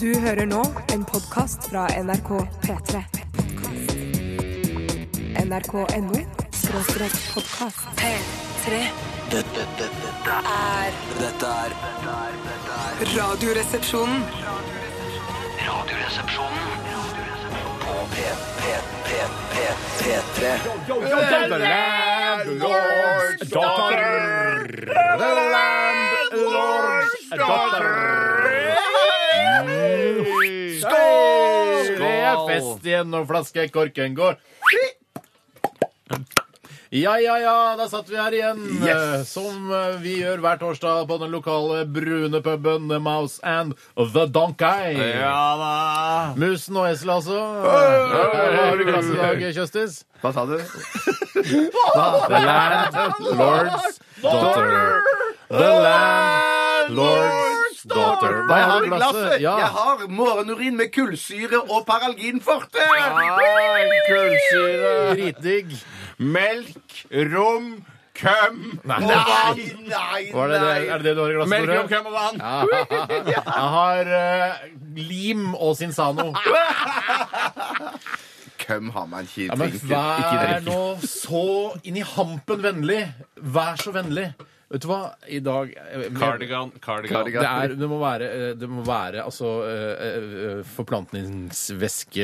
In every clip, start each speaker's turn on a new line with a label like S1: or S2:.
S1: Du hører nå en podkast fra NRK P3. NRK.no skråstrek podkast. P3.
S2: Dette, dette, dette,
S1: er
S2: dette er dette er- dette er
S1: Radioresepsjonen.
S2: Radioresepsjonen på P, P, P, P, P3.
S3: Skål! Det er fest igjen når flaskekorken går. Ja, ja, ja, da satt vi her igjen. eh, Som eh, vi gjør hver torsdag på den lokale brune puben The Mouse and The Donkey.
S4: Ja
S3: Musen og Esel, altså. Hva har du i glasset i dag, Kjøstis?
S4: Hva sa du?
S3: The Landlord's Daughter. The Landlord's Daughter. Hva
S4: har du
S3: har
S4: i
S3: glasset?
S4: glasset?
S3: Ja.
S4: Jeg har morgenurin med kullsyre og Paralgin forte.
S5: Kullsyre,
S3: Dritdigg.
S5: melk, rom, køm og vann.
S4: nei,
S3: Var det det, er det det du har i glasset,
S5: Melk,
S3: Tore?
S5: rom, køm og vann.
S3: Jeg har eh, lim og Sinsano.
S4: Køm har man ikke.
S3: Ja, men
S4: drikket. Ikke
S3: vær
S4: drikket.
S3: nå så inn i hampen vennlig. Vær så vennlig. Vet du hva? I dag eh,
S5: Cardigan, cardigan.
S3: Det, er, det, må være, eh, det må være altså eh, eh,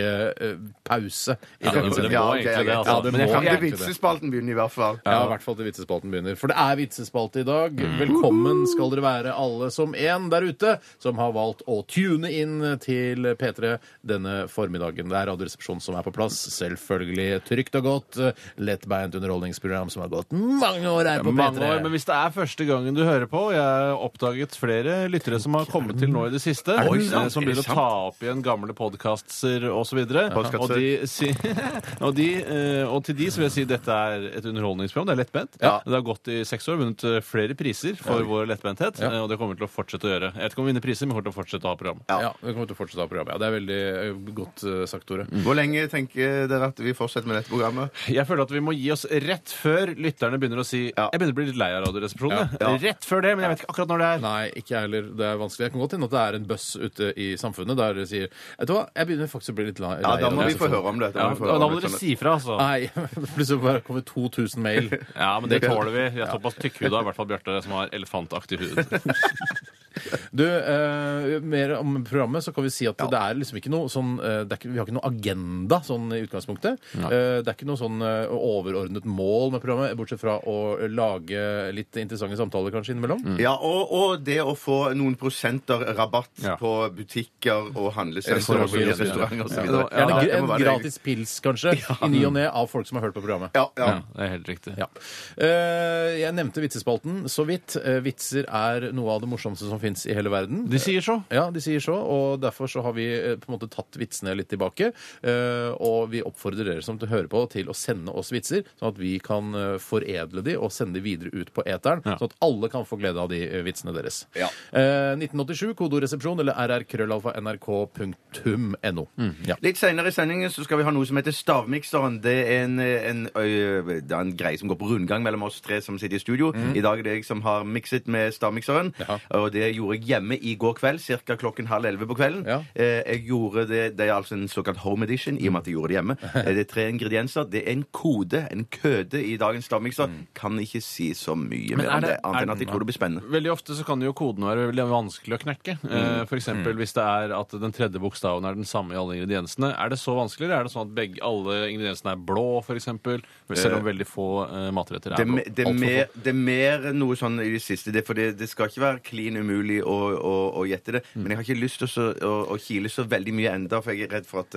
S3: forplantningsvæskepause i
S5: det må-
S3: dagens
S5: det må
S3: sending.
S4: ok,
S5: egentlig det,
S4: greit.
S5: altså.
S4: Ja,
S3: det
S4: Men jeg
S3: må
S4: kan til
S3: egentlig det.
S4: vitsespalten begynne, i hvert fall.
S3: Ja, Mm. i hvert fall til vitsespalten begynner. For det er vitsespalte i dag. Velkommen skal dere være alle som en der ute som har valgt å tune inn til P3 denne formiddagen. Det er Radioresepsjonen som er på plass. Selvfølgelig trygt og godt. Lettbeint underholdningsprogram som har gått mange år her på
S5: Mange
S3: P3.
S5: år, men hvis det er første gangen du hører på, og jeg har oppdaget flere lyttere som har kommet til nå i det siste,
S3: det
S5: eh,
S3: sant?
S5: som
S3: Er
S5: begynner
S3: det
S5: å ta opp igjen gamle podkaster osv.
S4: Podcaster.
S5: Og, de, si, og, de, eh, og til de så vil jeg si dette er et underholdningsprogram. Det er lettbent.
S3: Ja.
S5: Det har gått i seks år, vunnet eh, flere priser for vår lettbenthet, eh, og det kommer vi til å fortsette å gjøre. Jeg vet ikke om vi vinner priser, men vi kommer til å fortsette å ha program.
S3: Ja, vi kommer til å fortsette av programmet. Ja, det er veldig eh, godt eh, sagt, Tore.
S4: Hvor lenge tenker dere at vi fortsetter med dette programmet?
S5: Jeg føler at vi må gi oss rett før lytterne begynner å si
S4: Ja.
S5: Jeg begynner å bli litt lei av Radioresepsjonen. jeg».
S4: Ja. Ja.
S5: Rett før det, men jeg vet ikke akkurat når det er.
S3: Nei, ikke jeg heller. Det er vanskelig. Jeg kan godt hende at det er en buzz ute i samfunnet der dere sier Vet du hva, jeg begynner faktisk å bli litt la- lei
S4: Ja, Da
S3: av
S4: må vi
S3: dere».
S4: få høre om det.
S5: Ja,
S4: vi få
S5: da
S4: høre
S5: må
S4: om
S5: dere
S4: det.
S5: si fra, altså.
S3: Nei, plutselig bare kommer 2000 mail.
S5: Ja, men det tåler vi. Jeg er såpass tykkhuda, i hvert fall Bjarte, som har elefantaktig hud.
S3: Du, eh, mer om programmet, så kan vi si at det er liksom ikke noe sånn eh, det er ikke, Vi har ikke noe agenda sånn i utgangspunktet. Eh, det er ikke noe sånn eh, overordnet mål med programmet, bortsett fra å lage litt interessante samtaler kanskje innimellom.
S4: Ja, og, og det å få noen prosenter rabatt
S5: Ja.
S4: på butikker og handlesenter og så
S3: Restauranter
S4: videre,
S3: og så videre.
S4: restauranter og så
S3: Det
S4: videre.
S3: var- Gjerne
S4: det
S3: gr-
S4: må
S3: en
S4: være det.
S3: gratis pils, kanskje, i ny og ne av folk som har hørt på programmet.
S4: Ja, ja.
S5: Ja, det er helt riktig.
S3: Ja. Eh, jeg nevnte vitsespalten så vidt. Eh, vitser er noe av det morsomste som fins i hele verden.
S5: De sier så.
S3: Ja, de sier så, og derfor så har vi eh, på en måte tatt vitsene litt tilbake. eh, Og vi oppfordrer dere som hører på til å sende oss vitser, sånn at vi kan eh, foredle de og sende de videre ut på eteren,
S5: Ja.
S3: sånn at alle kan få glede av de eh, vitsene deres.
S4: Ja.
S3: Eh, 1987, kodoresepsjon eller rrkrøllalfa.nrk.no. Ja.
S4: Litt seinere i sendingen så skal vi ha noe som heter Stavmikseren. Det er en, en, ø, det er en greie som går på rundgang mellom oss tre som sitter i studio. I dag er det jeg som har mikset med Stavmikseren.
S3: Ja.
S4: Og det gjorde jeg hjemme i går kveld, ca. klokken halv elleve på kvelden.
S3: Ja.
S4: Eh, Jeg gjorde det, det er altså en såkalt home edition, i og med at jeg gjorde det hjemme. Eh, Det er tre ingredienser. Det er en kode, en køde, i dagens Stavmikser. Kan ikke si så mye mer
S5: er
S4: om
S5: det-
S4: det, annet
S5: er-
S4: enn at jeg tror det blir spennende.
S5: Veldig ofte så kan jo kodene være veldig vanskelig å knekke. Eh,
S4: Mm.
S5: For eksempel hvis det er at den tredje bokstaven er den samme i alle ingrediensene. Er det så vanskelig, eller er det sånn at begge, alle ingrediensene er blå, for eksempel? Selv om veldig få eh, matretter
S4: Det,
S5: er
S4: er me-
S5: blå.
S4: det, er
S3: Alt for
S4: mer, det er mer noe sånn i det siste. Det, for det, det skal ikke være klin umulig å, å, å gjette det.
S3: Mm.
S4: Men jeg har ikke lyst til å, så- å, å kile så veldig mye enda, for jeg er redd for at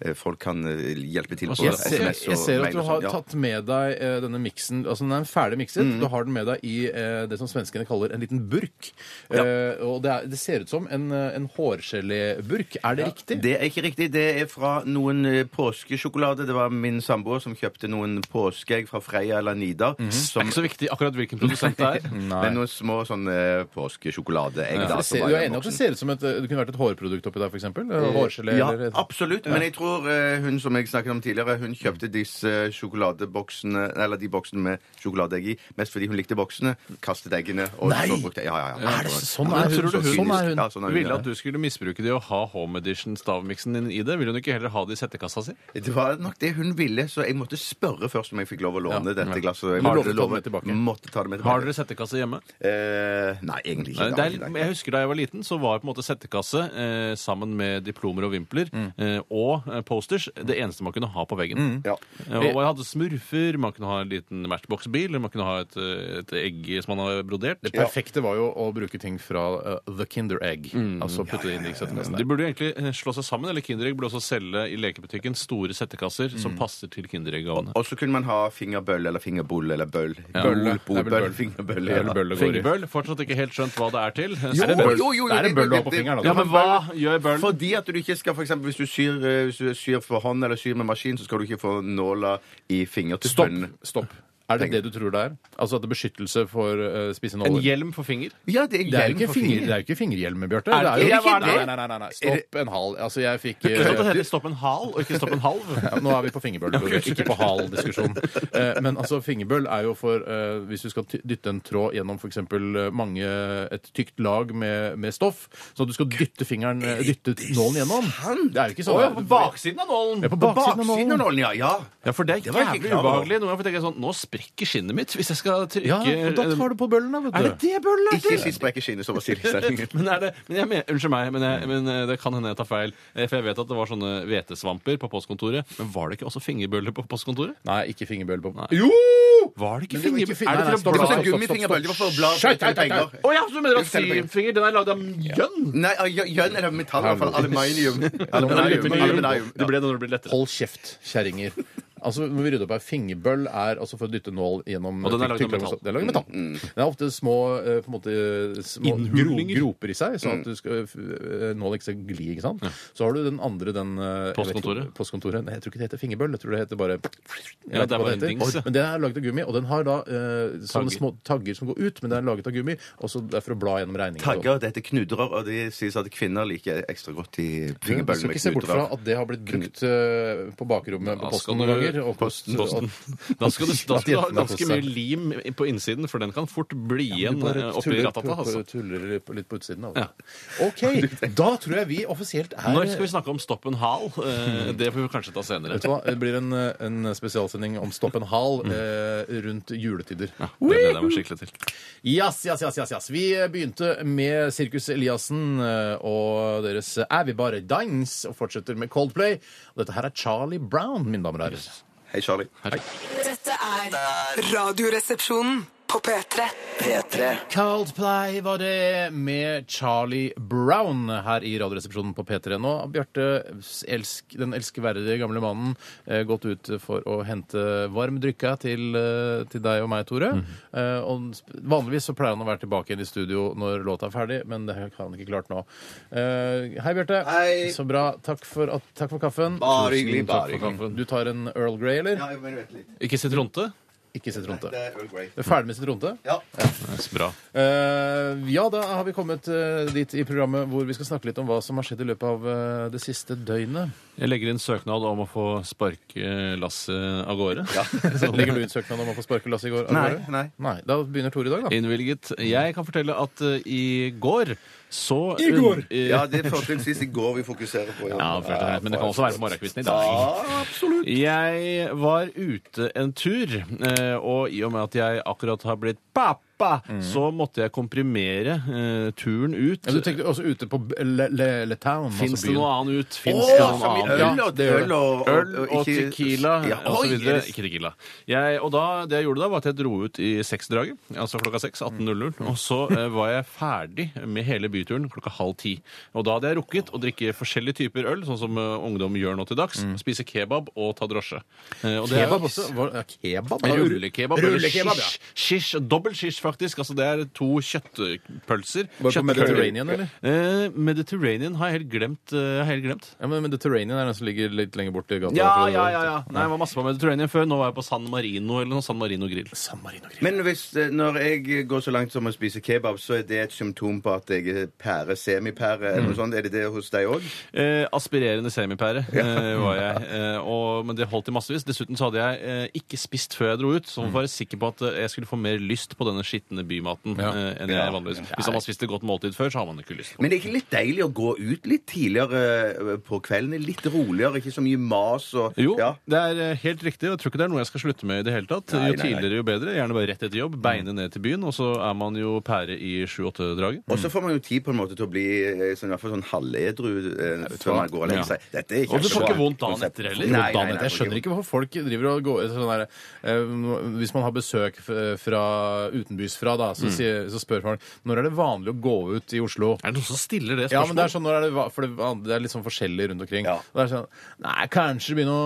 S4: eh, folk kan eh, hjelpe til.
S5: Og
S4: på
S5: så-
S3: Altså, Jeg
S5: Og
S4: SMS
S3: ser,
S4: og
S3: jeg ser at
S4: mail
S3: du
S4: og
S3: har
S4: sånn, ja. Mm.
S3: tatt med deg eh, denne miksen altså Den er ferdig mikset. Du har den med deg i eh, det som svenskene kaller en liten burk. Eh, og det, er, det ser ut som en, eh, en hårgeléburk. Er det riktig?
S4: Det er ikke riktig. Det er fra noen eh, påskesjokolade. Det var min samboer som kjøpte noen påskeegg fra Freia eller Nidar.
S3: Mhm.
S5: Det
S4: som,
S5: er ikke så viktig akkurat hvilken produsent det er.
S4: men noen små sånne eh, påskesjokoladeegg.
S3: For
S4: da, som
S3: det ser,
S4: var
S3: du
S4: i
S3: er
S4: den
S3: enig at det
S4: boksen.
S3: ser ut som et, eh, det kunne vært et hårprodukt oppi der, f.eks.? Hårgelé
S4: Ja,
S3: eller
S4: absolutt. Men jeg tror tror eh, hun som jeg snakket om tidligere, hun kjøpte disse sjokoladeboksene Eller de boksene med sjokoladeegg i mest fordi hun likte boksene, kastet eggene og
S3: Nei!
S4: så brukte Ja, ja, ja.
S3: Er det sånn
S4: Ja,
S3: er hun?
S4: så
S5: Tror du hun-
S4: kynisk.
S3: Sånn er hun.
S4: Ja, sånn er hun.
S5: Ville
S4: ja.
S5: at du skulle misbruke de og ha home edition stavmiksen din i det? Ville hun ikke heller ha det i settekassa si?
S4: Det var nok det hun ville, så jeg måtte spørre først om jeg fikk lov å låne
S5: Ja.
S4: dette glasset. og Jeg
S3: Men du
S4: måtte
S3: lovte å ta
S4: love-
S3: det med tilbake?
S4: Måtte ta det med
S5: Har
S4: tilbake.
S5: dere settekasse hjemme?
S4: Eh, nei, egentlig ikke.
S5: Nei, det
S4: Nei,
S5: er,
S4: nei.
S5: jeg husker Da jeg var liten, så var på en måte settekasse eh, sammen med diplomer og vimpler eh, og eh, posters det eneste man kunne ha på veggen.
S4: Ja.
S5: Eh, Og jeg hadde smurfer, man kunne ha en liten Matchbox-bil, man kunne ha et, eh, et egg som man har brodert.
S3: Det perfekte var jo å bruke ting fra eh, The Kinder Egg.
S4: Mm.
S3: Altså putte det inn i settekassen.
S5: De burde jo egentlig eh, slå seg sammen, eller Kinderegg burde også selge i lekebutikken store settekasser som passer til Kinderegg-gavene.
S4: Og så kunne man ha fingerbøll eller fingerboll eller bøll.
S3: Bølle.
S4: Bol, bol,
S3: Det er vel
S4: bøll,
S3: bøll.
S4: fingerbøll.
S3: Det er vel bølle går i.
S5: Fingerbøll, fortsatt ikke helt skjønt hva det er til.
S3: Er det en bøll?
S4: Jo, jo, jo,
S3: Det er en bøll du har
S4: det-
S3: på fingeren.
S4: det-
S3: da.
S5: Ja, men hva gjør bøll?
S4: Fordi at du ikke skal, for eksempel, Hvis du syr, eh, hvis du syr for hånd eller syr med maskin, så skal du ikke få nåla i fingertuppene.
S3: Stopp. Stopp. Er det det du tror det er? Altså at det er beskyttelse for uh, spisse
S5: En
S3: nåler?
S5: hjelm for finger?
S4: Ja, det er
S3: Det er jo
S4: hjelm
S3: ikke,
S4: for
S3: finger, det
S4: finger.
S3: er jo ikke fingerhjelm, Bjarte.
S5: Er det
S3: jo
S4: ikke
S3: Hva er
S4: det?
S3: Nei, nei, nei, nei, nei. Stopp en hal. Altså, jeg fikk
S5: Skjønt at
S3: eh,
S5: det heter stopp en hal, og ikke stopp en halv.
S3: ja, Nå er vi på fingerbøll, ikke på hal-diskusjon. Eh, Men altså, fingerbøll er jo for eh, Hvis du skal ty- dytte en tråd gjennom f.eks. mange et tykt lag med, med stoff, så du skal dytte fingeren eh, Dytte nålen gjennom. Det er jo ikke sånn.
S5: Å, ja, på baksiden av nålen!
S3: Ja, på baksiden av
S4: Baksiden av
S3: nålen.
S4: nålen, Ah, ja. ja.
S5: Ja, for det er
S4: var jeg ikke
S5: jævlig
S4: klar over.
S5: ubehagelig. Noen ganger får jeg tenke sånn, nå sprekker skinnet mitt hvis jeg skal trykke
S3: Ja, og da tar eh, du på bøllen, da, vet du.
S5: Er det det bøllet
S4: Ikke si sprekkeskinnet, som var Silje
S5: Men, er det, men jeg mener, Unnskyld meg, men, jeg, men eh, det kan hende jeg tar feil. Eh, For jeg vet at det var sånne hvetesvamper på postkontoret. Men var det ikke også fingerbøller på postkontoret?
S3: Nei, ikke fingerbøll på
S5: Nei.
S3: Jo!
S5: Var det ikke
S3: Men det var ikke finger- nei,
S5: fingerbøller? Er det
S3: nei,
S5: til å
S3: stopp,
S5: bla
S4: Det
S3: stopp,
S4: var
S3: stopp.
S5: i?
S4: gummifingerbøll. Det var for å bla
S3: Skjøt, skjøt, skjøt,
S4: penger.
S5: Å ja, så du mener at
S4: Selve penger.
S5: syvfinger den er lagd av mjønn?
S4: Nei, av jø- jønn eller metall, i hvert fall. Aluminium. Aluminium. Aluminium.
S5: Det ble det når det ble lettere.
S3: Hold kjeft, kjerringer. Altså, må vi rydde opp her. Fingerbøll er altså for å dytte nål gjennom eh,
S5: Og den er
S3: tykt- tykt-
S5: laget av metall.
S3: Det er laget av metall.
S4: Mm.
S3: Det er ofte små, eh, på en måte, små gro
S5: Innhulninger.
S3: groper i seg,
S4: Mm.
S3: sånn at du skal, f- eh, nålen ikke skal gli. ikke sant? Så har du den andre, den eh, jeg vet ikke-
S5: Postkontoret.
S3: postkontoret. Nei, jeg tror ikke det heter fingerbøll. Jeg tror det heter bare
S5: Ja, det er bare en dings, ja.
S3: Men det er laget av gummi, og den har da eh, sånne
S5: Tagger.
S3: små tagger som går ut, men det er laget av gummi, og så det er for å bla gjennom regningen.
S4: Tagger, det heter knudrer, og det sies at kvinner liker ekstra godt i
S3: Du du
S4: fingerbøllene
S3: skal
S4: med
S3: ikke se bort fra
S4: knudrer.
S3: at det har blitt brukt eh, på bakrommet på
S5: Da
S3: posten
S5: skal
S3: noen
S5: du-
S3: ganger. Og post,
S5: Posten.
S3: og-
S5: Da skal du, da skal du ha ganske mye
S3: Posten.
S5: lim i- på innsiden, for den kan fort bli igjen
S3: Du bare
S5: eh, oppi
S3: tuller
S5: ratata.
S3: på-
S5: Altså.
S3: Tuller litt på- litt på utsiden av det.
S5: Ja.
S3: OK, da tror jeg vi offisielt er
S5: Når skal vi snakke om stopp en hal? Eh, Det får vi kanskje ta senere.
S3: Vet du hva? Det blir en, eh, en spesialsending om Stopp en hal
S5: Mm.
S3: eh, rundt juletider.
S5: Det gleder jeg meg skikkelig til.
S3: Yes, yes, yes, yes, yes. Vi eh, begynte med Sirkus Eliassen eh, og deres Er vi bare dans? og fortsetter med Coldplay. Og dette her er Charlie Brown, mine damer og herrer.
S4: Hei, Charlie.
S6: Dette er Radioresepsjonen på P3.
S2: P3.
S3: Coldplay var det med Charlie Brown her i Radioresepsjonen på P3 nå. Bjarte, elsk, den elskverdige gamle mannen, eh, gått ut for å hente varm drikke til, eh, til deg og meg, Tore. Eh, og sp- vanligvis så pleier han å være tilbake igjen i studio når låta er ferdig, men det har han ikke klart nå. Eh, hei, Bjarte.
S4: Hei.
S3: Så bra. Takk for, at, takk for kaffen.
S4: Bare
S3: Tusen
S4: hyggelig,
S3: takk
S4: bare
S3: for
S4: hyggelig.
S3: kaffen. Du tar en Earl Grey, eller?
S4: Ja, jeg mener vent litt.
S5: Ikke sitronte?
S3: Ikke
S4: Det
S3: sitronte. Du
S4: er Earl Grey.
S3: er ferdig med sitronte?
S4: Ja.
S5: Bra.
S3: Eh, ja, da har vi kommet eh, dit i programmet hvor vi skal snakke litt om hva som har skjedd i løpet av eh, det siste døgnet.
S5: Jeg legger inn søknad om å få sparke Lasse av gårde. Sånn.
S3: Legger du ut søknad om å få sparke Lasse i går?
S4: Nei,
S3: Alvare?
S4: nei.
S3: nei. Da begynner Tore i dag, da.
S5: Innvilget. Jeg kan fortelle at eh, i går så
S3: I går?
S5: Eh,
S4: Ja, det er fortrinnsvis i går vi fokuserer på.
S5: Ja, først og fremst, men det kan også være på morgenkvisten i dag.
S4: Absolutt.
S5: Jeg var ute en tur, eh, og i og med at jeg akkurat har blitt pappa, så måtte jeg komprimere eh, turen ut.
S3: Ja, du tenkte også ute på B- Le, le, le Town.
S5: Fins
S3: altså
S5: det
S3: byen.
S5: noe annen ut?
S4: Å,
S5: Fins det noe
S4: som i
S5: annet?
S4: øl
S3: Ja,
S4: og
S3: det gjør det.
S4: øl og,
S5: Øl og
S4: ikke-
S5: tequila
S4: Ja,
S5: og
S4: oi,
S5: så videre.
S4: yes.
S5: Ikke tequila. Jeg, og da, det jeg gjorde da, var at jeg dro ut i seksdraget, altså klokka seks, 18.00,
S3: Mm.
S5: og så eh, var jeg ferdig med hele byturen klokka halv ti. Og da hadde jeg rukket å drikke forskjellige typer øl, sånn som eh, ungdom gjør nå til dags, spise kebab og ta drosje. Eh, og det er jo-
S3: Mm. Kebab også? Var, ja, kebab?
S5: Rullekebab. eller
S3: Rullekebab, ja.
S5: shish, shish, dobbel shish fra faktisk. Altså, det er to kjøttpølser.
S3: Var det på
S5: Kjøttpølser.
S3: Mediterranean, eller?
S5: Eh, Mediterranean har jeg helt glemt. eh, har jeg helt glemt.
S3: Ja, men Mediterranean er den som ligger litt lenger bort i gata.
S5: Ja,
S3: fra-
S5: ja, ja, ja. Nei, jeg var masse på Mediterranean før. Nå var jeg på San Marino eller noe San Marino grill.
S3: San Marino grill.
S4: Men hvis, eh, når jeg går så langt som å spise kebab, så er det et symptom på at jeg er pære, semipære eller
S5: Mm.
S4: noe sånt. Er det det hos deg òg?
S5: Eh, aspirerende semipære eh, var jeg, eh, og, men det holdt i massevis. Dessuten så hadde jeg eh, ikke spist før jeg dro ut, så jeg var sikker på at eh, jeg skulle få mer lyst på denne skitne bymaten
S3: Ja.
S5: eh, enn jeg vanligvis. Hvis man har spist et godt måltid før, så har man ikke lyst. på det.
S4: Men det er ikke litt deilig å gå ut litt tidligere eh, på kvelden? Litt roligere, ikke så mye mas og
S5: Jo,
S4: Ja.
S5: det er eh, helt riktig, og jeg tror ikke det er noe jeg skal slutte med i det hele tatt.
S4: Nei,
S5: jo
S4: nei, Mm. nei.
S5: tidligere, jo bedre. Gjerne bare rett etter jobb, beine ned til byen, og så er man jo pære i sju-åtte-draget.
S4: Og så får man jo tid på en måte til å bli eh, sånn, i hvert fall sånn halvedru eh, før man går og legger seg. Dette er ikke
S5: Og du
S4: så
S5: får ikke
S4: bra.
S5: vondt dagen etter heller.
S4: Nei,
S3: Nei,
S4: nei, nei,
S3: jeg skjønner ikke hvorfor folk driver og går sånn der, eh, Hvis man har besøk f- fra utenbys fra, da,
S5: Mm.
S3: så, sier, så spør folk når er det vanlig å gå ut i Oslo.
S5: Er det noen som stiller det
S3: Ja, men det er
S5: spørsmålet?
S3: sånn, når er det, va- for det, van- det er litt sånn forskjellig rundt omkring.
S4: Ja.
S3: Og Det er sånn, nei, kanskje begynne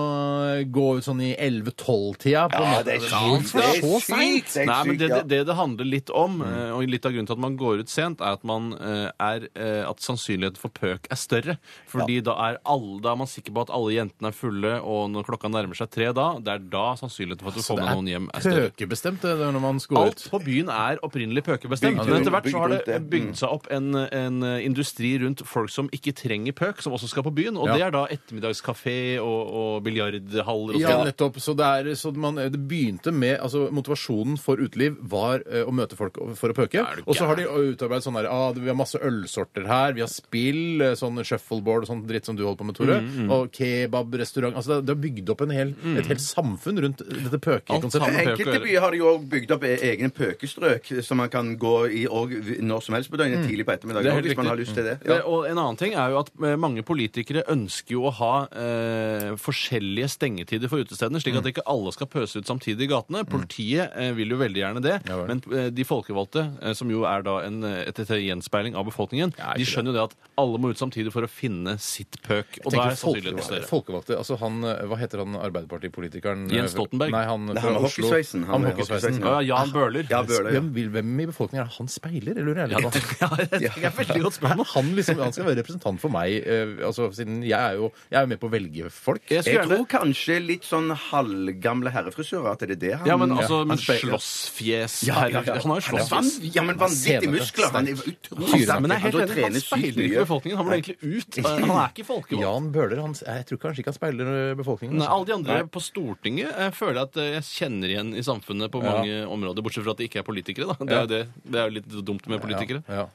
S3: å gå ut sånn i 11-12-tida. på
S4: Ja,
S3: natta.
S4: det er sykt. Det er
S3: så
S4: sykt. Det er
S5: Nei, men
S4: sykt,
S5: det,
S4: ja.
S5: det, det det handler litt om, eh, og litt av grunnen til at man går ut sent, er at, man, eh, er, eh, at sannsynligheten for pøk er større. Fordi da, er alle, da er man sikker på at alle jentene er fulle, og når klokka nærmer seg tre da, det er da sannsynligheten for at du
S3: Altså,
S5: får med noen hjem er større.
S3: Pøkebestemt det er når man skal
S5: Alt
S3: ut.
S5: på byen er opprinnelig pøkebestemt,
S4: Bygd
S5: men
S4: rundt-
S5: etter hvert så har
S4: bygd rundt
S5: det
S4: det.
S3: mm.
S5: bygd seg opp en, en eh, industri rundt folk som ikke trenger pøk, som også skal på byen, og
S3: Ja.
S5: det er da ettermiddagskafé og, og biljardhaller og
S3: Ja,
S5: sånn.
S3: nettopp. Så det, er, så man, eh, det begynte med altså Motivasjonen for uteliv var eh, å møte folk for å pøke.
S5: Er du
S3: Og så har de utarbeidet sånn der ah, Vi har masse ølsorter her, vi har spill, eh, sånn shuffleboard og sånn dritt som du holder på med, Tore. Og kebabrestaurant altså, det- Det har bygd opp en hel, et helt samfunn rundt dette
S5: Alt
S3: pøkekonseptet.
S5: sammen. pøker.
S4: Enkelte byer har jo også bygd opp e- egne pøkestrøk som man kan gå i og når som helst på døgnet, tidlig på
S5: Mm. Det er
S4: ettermiddagen også,
S5: helt
S4: hvis man
S5: riktig.
S4: har lyst til det.
S5: Det,
S4: Ja.
S5: og en annen ting er jo at eh, mange politikere ønsker jo å ha eh, forskjellige stengetider for utestedene, slik
S4: Mm.
S5: at ikke alle skal pøse ut samtidig i gatene. Politiet eh, vil jo veldig gjerne det,
S3: vel.
S5: men eh, de folkevalgte, eh, som jo er da en, eh, et, et gjenspeiling av befolkningen,
S3: Ja, ikke
S5: de skjønner jo det at alle må ut samtidig for å finne sitt pøk. Og da
S3: Tenker
S5: er sannsynligheten
S3: folkevalgte,
S5: større.
S3: folkevalgte, altså han, eh, Hva heter han arbeiderpartipolitikeren? eh,
S5: Jens Stoltenberg.
S3: Nei, han
S4: Nei,
S3: fra
S4: han med
S3: Oslo.
S4: hockeysveisen.
S3: Han med hockeysveisen.
S5: Ja, Jan Bøhler.
S4: Ja, Bøhler, ja.
S3: Hvem, vil, hvem i befolkningen er det han speiler? Jeg lurer ærlig på.
S5: Ja, det er et veldig godt
S3: Må
S5: spørsmål.
S3: han, liksom, han skal være representant for meg, eh, altså, siden jeg er jo jeg er jo med på å velge folk.
S5: Jeg skulle
S4: Jeg
S5: gjerne...
S4: tror kanskje litt sånn halvgamle herrefrisører at det er det han
S5: Ja, men altså, men
S3: speiler.
S5: slåssfjes
S4: Ja, ja, ja.
S5: herre- Han har jo
S4: Han er
S5: slåssfjes.
S4: vanv- Ja, men vanvittige
S3: Senere.
S4: muskler. Han er
S5: Han,
S4: utrolig
S3: Fyren er-
S5: men jeg er helt
S4: Han
S5: enig, han
S4: trener sykt
S5: speiler ikke
S4: mye.
S5: befolkningen. Han burde egentlig ut. Han er ikke folkevalgt.
S3: Jan Bøhler han, Jeg tror kanskje ikke han speiler eh, befolkningen.
S5: Nei,
S3: altså.
S5: alle de andre på Stortinget jeg føler at eh, jeg kjenner igjen i samfunnet på mange områder, bortsett fra at de ikke er politikere. da. Det er jo det, det er jo litt dumt med politikere.
S3: Ja, ja.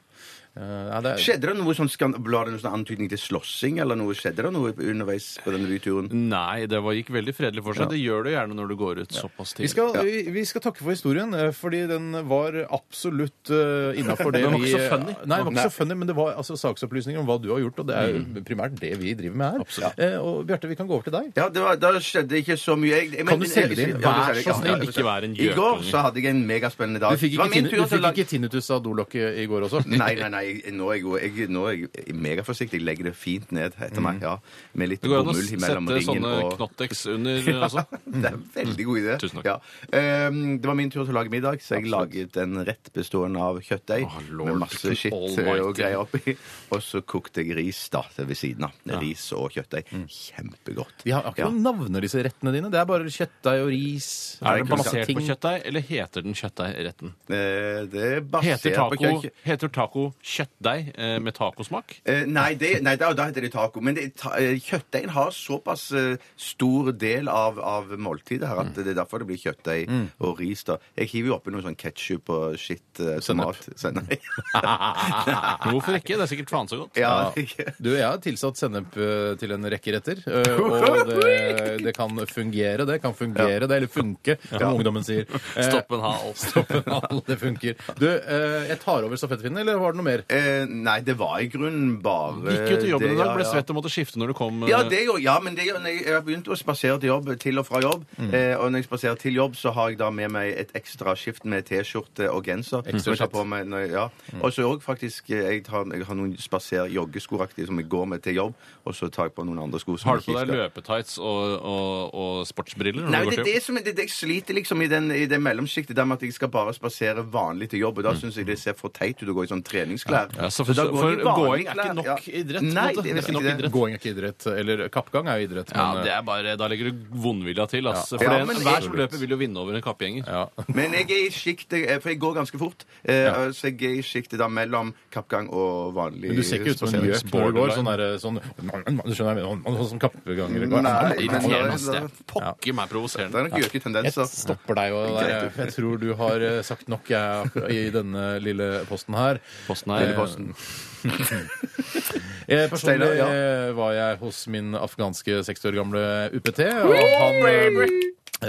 S3: Eh, ja, det er,
S4: Skjedde det noe sånn skan- Ble det noen sånn antydning til slåssing, eller noe? Skjedde det noe underveis på denne byturen?
S5: Nei, det var, gikk veldig fredelig for seg. Det gjør det gjerne når du går ut såpass
S3: vi
S5: tidlig.
S3: skal, vi, vi skal takke for historien, eh, fordi den var absolutt uh, innafor det
S5: Den var
S3: vi
S5: ikke så funny.
S3: Nei, den var ikke så funny, men det var altså, saksopplysninger om hva du har gjort, og det er jo primært det vi driver med her. Eh, og Bjarte, vi kan gå over til deg.
S4: Ja, det var, Da skjedde ikke så mye. Jeg, jeg
S3: Kan
S4: men-
S3: du selge det inn?
S4: Ja,
S3: Vær
S4: det selger jeg.
S3: så snill,
S4: Ja, ja,
S5: ikke vær en
S4: I går
S5: gjøkunge.
S4: så hadde jeg en megaspennende dag.
S3: Du fikk
S4: Det var
S3: ikke,
S4: min
S3: tin-
S4: tur
S3: du
S4: til å
S3: fikk
S4: lage-
S3: ikke tinnitus av dolokket i går også?
S4: Nei, nei, nei. jeg- Nå er jeg, god. jeg, nå er jeg megaforsiktig. Jeg legger det fint ned etter meg. ja. Med litt
S5: Mm. Det går an å
S4: bomull mellom
S5: sette
S4: ringen
S5: sånne
S4: og
S5: Knottex under eh, også.
S4: Det er en veldig god idé.
S5: Tusen takk.
S4: Ja. Ehm, det var min tur til å lage middag, så jeg laget en rett bestående av kjøttdeig
S5: Åh, lord
S4: med masse skitt
S5: almighty.
S4: og greier oppi. Og så kokte jeg ris da til ved siden av. Ris og kjøttdeig.
S5: Mm.
S4: Kjempegodt.
S3: Vi har ikke
S4: Ja.
S3: noen navner, disse rettene dine. Det er bare kjøttdeig og ris.
S5: Er den
S4: kunne
S5: basert
S3: ting.
S5: på kjøttdeig, eller heter den kjøttdeigretten?
S4: Eh, Det er
S5: Heter
S4: basert på
S5: taco,
S4: kjøtt...
S5: heter taco kjøttdeig eh, med tacosmak?
S4: Eh, nei, det, nei da, da heter det taco. Men det, ta, eh, kjøttdeigen har såpass eh, stor del av, av måltidet
S5: Mm.
S4: her at det er derfor det blir kjøttdeig og ris. da. Jeg hiver jo oppi noe sånn ketsjup og shit eh, tomat. Sennep.
S5: Men Hvorfor ikke? Det er sikkert faen så godt.
S4: Ah. ja,
S3: Ja. Du, jeg har tilsatt sennep eh, til en rekke retter, eh, og det, det kan fungere, det kan fungere, det, eller funke, som ungdommen sier. Eh,
S5: Stopp en hal.
S3: stopp en hal, det funker. Du, eh, jeg tar over stafettpinnen, eller var det noe mer?
S4: Eh, nei, det var i grunnen bare
S5: Gikk jo til jobben
S4: det,
S5: i dag,
S4: ja,
S5: ble
S4: ja.
S5: svett og måtte skifte når du kom. eh,
S4: Ja, det gjorde, ja, men det, gjorde- når jeg jeg har begynt å spasere til jobb, til og fra jobb.
S5: Mm.
S4: Eh, og når jeg spaserer til jobb, så har jeg da med meg et ekstra skift med T-skjorte og genser. som jeg tar på meg når jeg, ja.
S5: Mm.
S4: Og så òg faktisk eh, jeg, tar, jeg har noen spaser joggeskoraktige som jeg går med til jobb, og så tar jeg på noen andre sko. som
S5: Har du
S4: jeg
S5: på deg
S4: ikke skal-
S5: løpetights og, og, og sportsbriller? når
S4: Nei,
S5: du går
S4: det er
S5: til jobb?
S4: det som er, det, er det jeg sliter liksom i, den, i det mellomsjiktet der med at jeg skal bare spasere vanlig til jobb. Og da syns jeg det ser for teit ut å gå i sånn treningsklær.
S5: Mm. Ja, så for-
S4: for, da går
S5: for
S4: jeg i vanlige
S5: gåing er ikke
S4: klær,
S5: nok idrett, på en
S4: Nei,
S5: måte.
S4: det
S5: Det er
S4: er
S5: ikke nok
S4: ikke det.
S5: idrett.
S3: Gåing er ikke idrett. Eller kappgang er jo idrett.
S5: Ja,
S3: men,
S5: det er bare, Da legger du vondvilja til. ass.
S3: Ja.
S5: For
S4: Ja,
S5: det-
S4: men
S5: Hver
S4: jeg-
S5: som løper, vil jo vinne over en kappgjenger.
S3: eh, ja.
S4: Men jeg er i sjiktet, for jeg går ganske fort, eh, så jeg er i sjiktet da mellom kappgang og vanlig
S3: Men du ser ikke ut som en gjøk når du går. Sånn derre- sånn, du skjønner, hva jeg mener, sånn som kappgangere går.
S4: Nei, men-
S5: Irriterende, ass. Det er
S4: Ja.
S5: pokker meg
S4: Det er
S5: provoserende.
S4: nok gjøketendenser.
S3: Jeg stopper deg jo der. Jeg tror du har eh, sagt nok jeg, akkurat i denne lille posten her.
S5: Posten er-
S3: Eh, Jeg personlig
S4: Steinar, ja.
S3: eh, var jeg hos min afghanske 60 år gamle UPT, og han eh,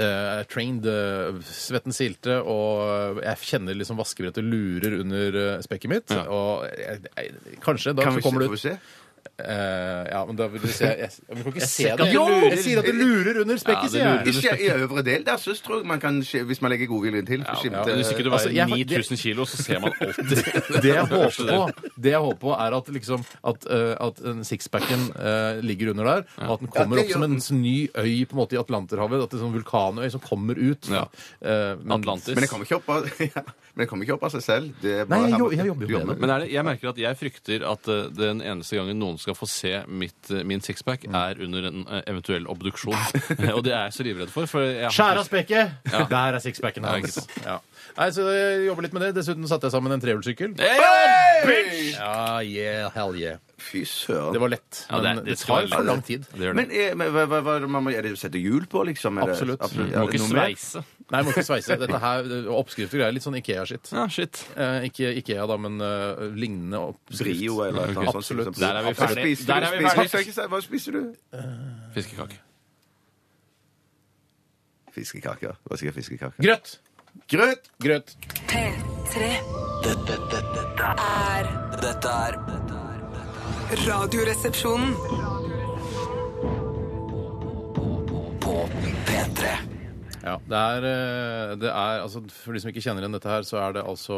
S3: eh, trained eh, svetten silte, og jeg kjenner liksom vaskebrettet lurer under eh, spekket mitt. Og jeg, jeg, kanskje en dag
S4: Kan vi
S3: så
S4: se,
S3: kommer det
S4: får vi
S3: ut
S4: se?
S3: Eh, Ja, men da vil du se Jeg, jeg kan ikke se
S5: ser
S3: det.
S5: ikke at det
S3: Jo,
S5: lurer.
S3: jeg sier at det lurer under
S5: Ja,
S3: spekket,
S5: det
S3: sier jeg.
S5: lurer.
S4: Ikke i øvre del der, så tror jeg man kan, skje- hvis man legger godviljen til, få skimte
S5: Men Hvis ikke du
S3: Altså,
S5: veier
S3: jeg-
S5: 9000 kilo, så ser man alltid
S3: det jeg håper på, det jeg håper på er at, liksom, at, eh, at den sixpacken eh, ligger under der, og at den
S4: Ja, det
S3: kommer opp som
S4: gjør
S3: en ny øy på en måte i Atlanterhavet. At det er sånn vulkanøy som kommer ut.
S5: Ja.
S3: Eh, men-
S5: Atlantis.
S4: Men det kommer ikke opp av, ja, men det kommer ikke opp av seg selv. Det er
S3: Nei,
S4: bare
S3: jeg,
S4: her-
S3: jo- jeg jobber
S4: Du
S3: jo med det.
S5: Men er det, jeg merker at jeg frykter at eh, den eneste gangen noen skal få se mitt, eh, min sixpack, er under en eh, eventuell obduksjon. og det er jeg så livredd for. for jeg har-
S3: Skjære av spekket! Der er sixpacken hans. Ja. Nei, så jeg jobber litt med det. Dessuten satte jeg sammen en trehjulssykkel.
S5: Hey!
S3: Ja, yeah, hell yeah.
S4: Fy søren.
S3: Det var lett,
S5: Ja,
S3: men
S5: det er-
S3: det,
S5: det skal
S3: tar
S5: være
S3: for
S5: lett.
S3: lang tid.
S5: Det gjør det.
S4: Men, eh, men hva, hva, hva, man må, er det sette hjul på, liksom? Er det-
S3: Absolutt.
S4: absolutt.
S5: Du
S4: Ja,
S5: må ikke
S4: noe mer?
S5: sveise.
S3: Nei, må ikke sveise. Dette her, Oppskrifter og greier. Litt sånn Ikea-skitt.
S5: Ja, shit.
S3: Eh, ikke Ikea, da, men eh, lignende oppskrift.
S4: Brio eller et eller annet
S3: Absolutt.
S4: sånt.
S5: Der er vi
S4: Hva
S5: ferdig.
S4: spiser du?
S5: Der er vi
S4: Spiser-
S5: ferdig.
S4: Hva spiser du? Hva spiser du?
S5: Fiskekake.
S4: Fiskekaker. Hva sier jeg? Fiskekaker?
S3: Grøt!
S4: Grøt!
S3: Grøt.
S6: P3
S2: Dette, dette, dette er
S6: er
S2: Dette er
S6: Radioresepsjonen.
S2: på P3.
S3: Ja, det er, eh, det er altså, For de som ikke kjenner igjen dette her, så er det altså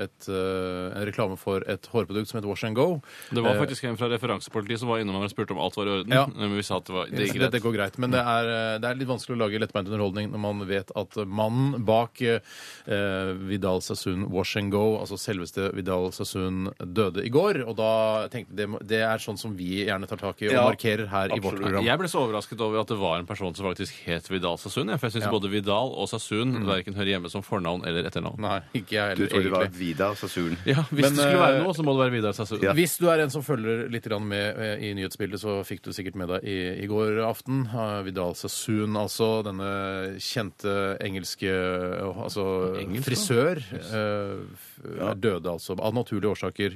S3: et, eh, en reklame for et hårprodukt som heter Wash and Go.
S5: Det var
S3: Eh,
S5: faktisk en fra referansepolitiet som var innom her og spurte om alt var i orden.
S3: Ja.
S5: Men vi sa at det var det gikk
S3: det, det
S5: greit.
S3: går greit, men det er, eh, det er litt vanskelig å lage lettbeint underholdning når man vet at mannen bak eh, Vidal Sassoon Wash and Go, altså selveste Vidal Sassoon, døde i går. Og da tenkte jeg det, må- det er sånn som vi gjerne tar tak i og
S4: Ja,
S3: markerer her i vårt
S4: absolutt.
S3: program.
S5: Jeg ble så overrasket over at det var en person som faktisk het Vidal Sassoon. jeg, For jeg syns
S3: Ja. Mm.
S5: både Vidal og Sassoon verken hører hjemme som fornavn eller etternavn.
S3: Nei, ikke jeg
S4: Du
S3: heller,
S4: tror det var
S3: egentlig.
S4: Vidar Sassoon.
S5: Ja, Hvis
S3: Men,
S5: det skulle være
S3: eh,
S5: noe, så må det være Vidar Sassoon.
S4: Ja.
S3: Hvis du er en som følger litt grann med eh, i nyhetsbildet, så fikk du sikkert med deg i, i går aften. eh, Vidal Sassoon, altså denne kjente engelske eh, altså,
S5: Engelsk, da?
S3: frisør, eh, f- døde altså av naturlige årsaker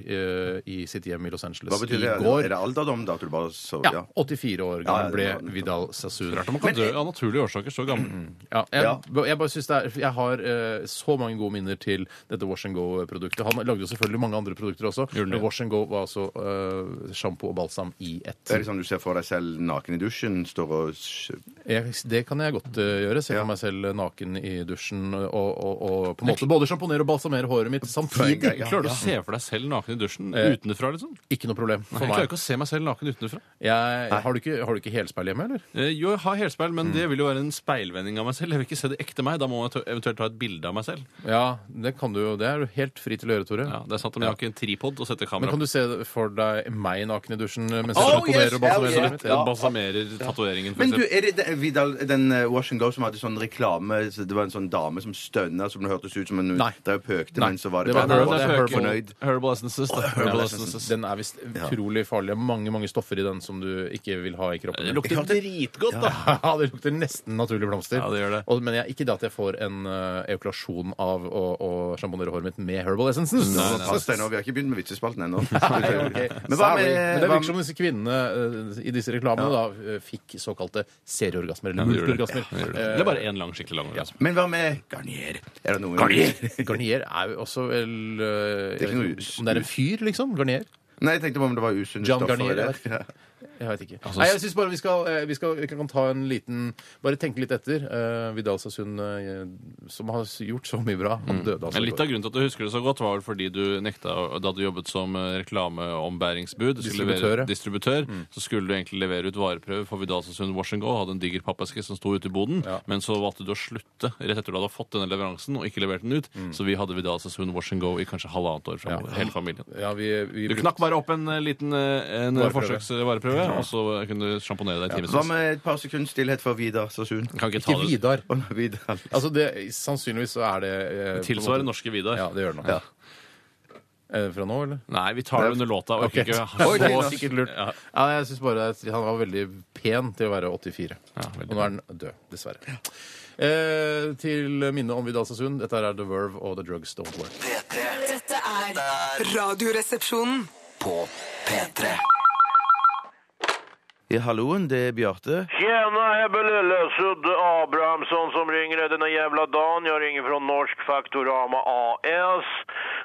S3: eh, i sitt hjem i Los Angeles
S4: Hva betyr det?
S3: i
S4: Er
S3: går.
S4: det alderdom, da? At du bare så,
S3: Ja, 84 år
S4: Ja, ja,
S3: gammel ble
S4: det var nettopp.
S3: Vidal Sassoon.
S5: Rart om man kan dø av naturlige årsaker så gammel.
S3: Ja, jeg,
S4: Ja.
S3: jeg bare synes det er Jeg har eh, så mange gode minner til dette Wash and Go-produktet. Han lagde jo selvfølgelig mange andre produkter også,
S5: han
S3: men
S5: det?
S3: Wash and Go var altså eh, sjampo og balsam i ett.
S4: Er det sånn du ser for deg selv naken i dusjen, står og sj-
S3: Jeg, det kan jeg godt eh, gjøre. Se
S4: Ja.
S3: for meg selv naken i dusjen og, og, og på en måte både sjamponere og balsamere håret mitt
S4: en gang,
S3: samtidig.
S4: ja.
S5: Klarer du å se for deg selv naken i dusjen
S3: Eh,
S5: utenfra, liksom?
S3: Ikke noe problem for
S5: Jeg klarer
S3: meg.
S5: ikke å se meg selv naken utenfra.
S3: Jeg, har, du ikke, har du ikke helspeil hjemme, eller?
S5: Eh, Jo, jeg har helspeil,
S3: Mm.
S5: men det vil jo være en speilvending av meg selv. Jeg vil ikke se det ekte meg. Da må jeg ta- eventuelt ta et bilde av meg selv.
S3: Ja, det kan du jo. Det er du helt fri til å gjøre, Tore.
S5: Ja, det er sant, men jeg har ikke en tripod å sette
S3: Men
S5: kamera
S3: kan
S5: på.
S3: du se for deg meg naken i dusjen eh, mens jeg
S4: Oh,
S3: sjamponerer
S4: yes,
S3: og balsamerer
S4: hell
S3: håret mitt?
S5: Jeg Balsamerer tatoveringen, for
S4: Men du,
S5: eksempel.
S4: er det den, Vidal, den eh, Wash and Go som hadde sånn reklame så Det var en sånn dame som stønna, som det hørtes ut som hun
S3: Nei.
S4: drev og pøkte,
S3: Nei.
S4: men så var det,
S3: Det var-
S5: Nei,
S4: bare
S5: det er
S3: det er
S5: Herbal-
S4: fornøyd.
S5: Herbal essences. da. Herbal
S4: Herbal
S5: essences.
S3: Den er visst utrolig farlig. Det er Mange mange stoffer i den som du ikke vil ha i kroppen.
S5: Det
S3: din.
S5: lukter dritgodt, da.
S3: Ja, det lukter nesten naturlige blomster.
S5: Ja, det gjør det.
S3: Og, men jeg, ikke det at jeg får en eh, eukulasjon av å, å sjamponere håret mitt med herbal essences.
S5: Nei, nei.
S4: Pass deg nå, vi har ikke begynt med vitsespalten ennå.
S3: Nei, ok.
S4: Men hva
S3: Sorry.
S4: med-
S3: Men det
S4: hva
S3: virker som disse kvinnene eh, i disse reklamene da, eh, fikk såkalte serieorgasmer, eller
S5: Ja, det gjør det.
S3: multiorgasmer. Eh,
S5: Det er bare én lang, skikkelig lang. orgasme.
S4: Men hva med Garnier? Er det noe
S3: Garnier er jo også vel eh,
S4: Det er
S3: jeg
S4: ikke
S3: vet
S4: noe
S3: ikke Om det er en fyr, liksom? Garnier?
S4: Nei, jeg tenkte på om det var usunne
S3: Jean
S4: stoffer.
S3: Garnier,
S4: i det.
S3: eller? Jeg vet ikke.
S5: Altså,
S3: Nei, jeg synes bare vi skal, eh, vi skal vi kan ta en liten Bare tenke litt etter. Eh, Vidal Sassoon, eh, som har gjort så mye bra, han døde altså
S5: Men
S3: i
S5: Mm. litt
S3: går.
S5: av grunnen til at du husker det så godt, var vel fordi du nekta å- da du jobbet som eh, reklameombæringsbud. du skulle
S3: Distributør, ja.
S5: Levere, distributør Mm. Så skulle du egentlig levere ut vareprøver for Vidal Sassoon altså Wash and Go. Hadde en diger pappeske som sto ute i boden.
S3: Ja.
S5: Men så valgte du å slutte rett etter du hadde fått denne leveransen og ikke levert den ut. Så vi hadde Vidal Sassoon Wash and Go i kanskje halvannet år framover. Hele familien.
S3: ja, vi, vi,
S5: Du knakk bare opp en eh, liten eh, en
S3: Vareprøve.
S5: forsøksvareprøve, og så kunne du sjamponere deg i
S4: Hva
S5: timevis.
S4: med et par sekunds stillhet for Vidar Sassoon?
S5: Kan ikke ta
S3: Ikke
S5: det.
S3: Vidar.
S4: Å, nei, Vidar.
S3: Altså, det, sannsynligvis så er det eh,
S5: Tilsvarer
S3: på en måte-
S5: norske Vidar.
S3: Ja, det gjør det nok. Er det fra nå, eller?
S5: Nei, vi tar det under låta.
S3: Ok.
S5: Orker ikke
S3: Oi, det
S5: ha
S3: er
S5: så
S3: sikkert lurt.
S5: Ja.
S3: Ja, jeg synes bare at Han var veldig pen til å være 84.
S5: veldig
S3: og nå er han død, dessverre. Eh, til minne om Vidal Sassoon. Dette er The Verve og The Drugs Don't Work.
S2: P3
S6: Dette er Radioresepsjonen.
S2: på P3.
S4: Ja, halloen, det er Bjarte.
S7: Tjena Hebbe Lillesud Abrahamsson som ringer denna jävla dagen. Jag ringer från Norsk Faktorama AS.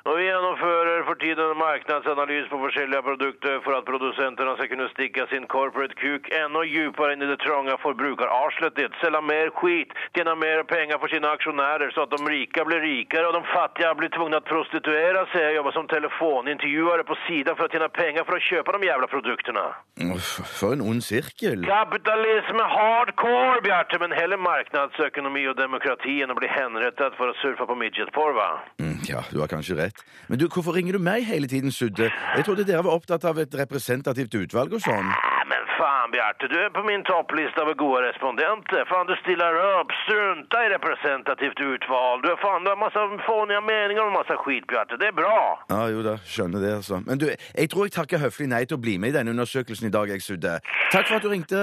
S7: Och vi genomför för tiden en marknadsanalys på olika produkter för att producenterna ska kunna sticka sin corporate kuk ännu djupare in i det trånga förbrukararslet. Det. Sälja mer skit, tjäna mer pengar för sina aktionärer så att de rika blir rikare och de fattiga blir tvungna att prostituera sig och jobba som telefonintervjuare på sidan för att tjäna pengar för att köpa de jävla produkterna.
S4: Å, f- For en ond sirkel.
S7: Kapitalism är hardcore, Bjarte, men hellre marknadsekonomi och demokrati än att bli henrättad för att surfa på midgetporr, va?
S4: Mm, Ja, du har kanskje rett. Men du, hvorfor ringer du meg hele tiden, Sudde? Jeg trodde dere var opptatt av et representativt utvalg og sånn.
S7: Ah, men fan, Bjarte, du är på min topplista över goa respondenter. Fan, du stillar upp, strunta i representativt utval. Du, fan, du har massa fåniga meningar och massa skit, Bjarte. Det är bra.
S4: Ja, jo da, skjønner det, altså. Men du, jeg tror jeg takker høflig nei til å bli med i denne undersøkelsen i dag, jeg, Sudde. Takk for at du ringte.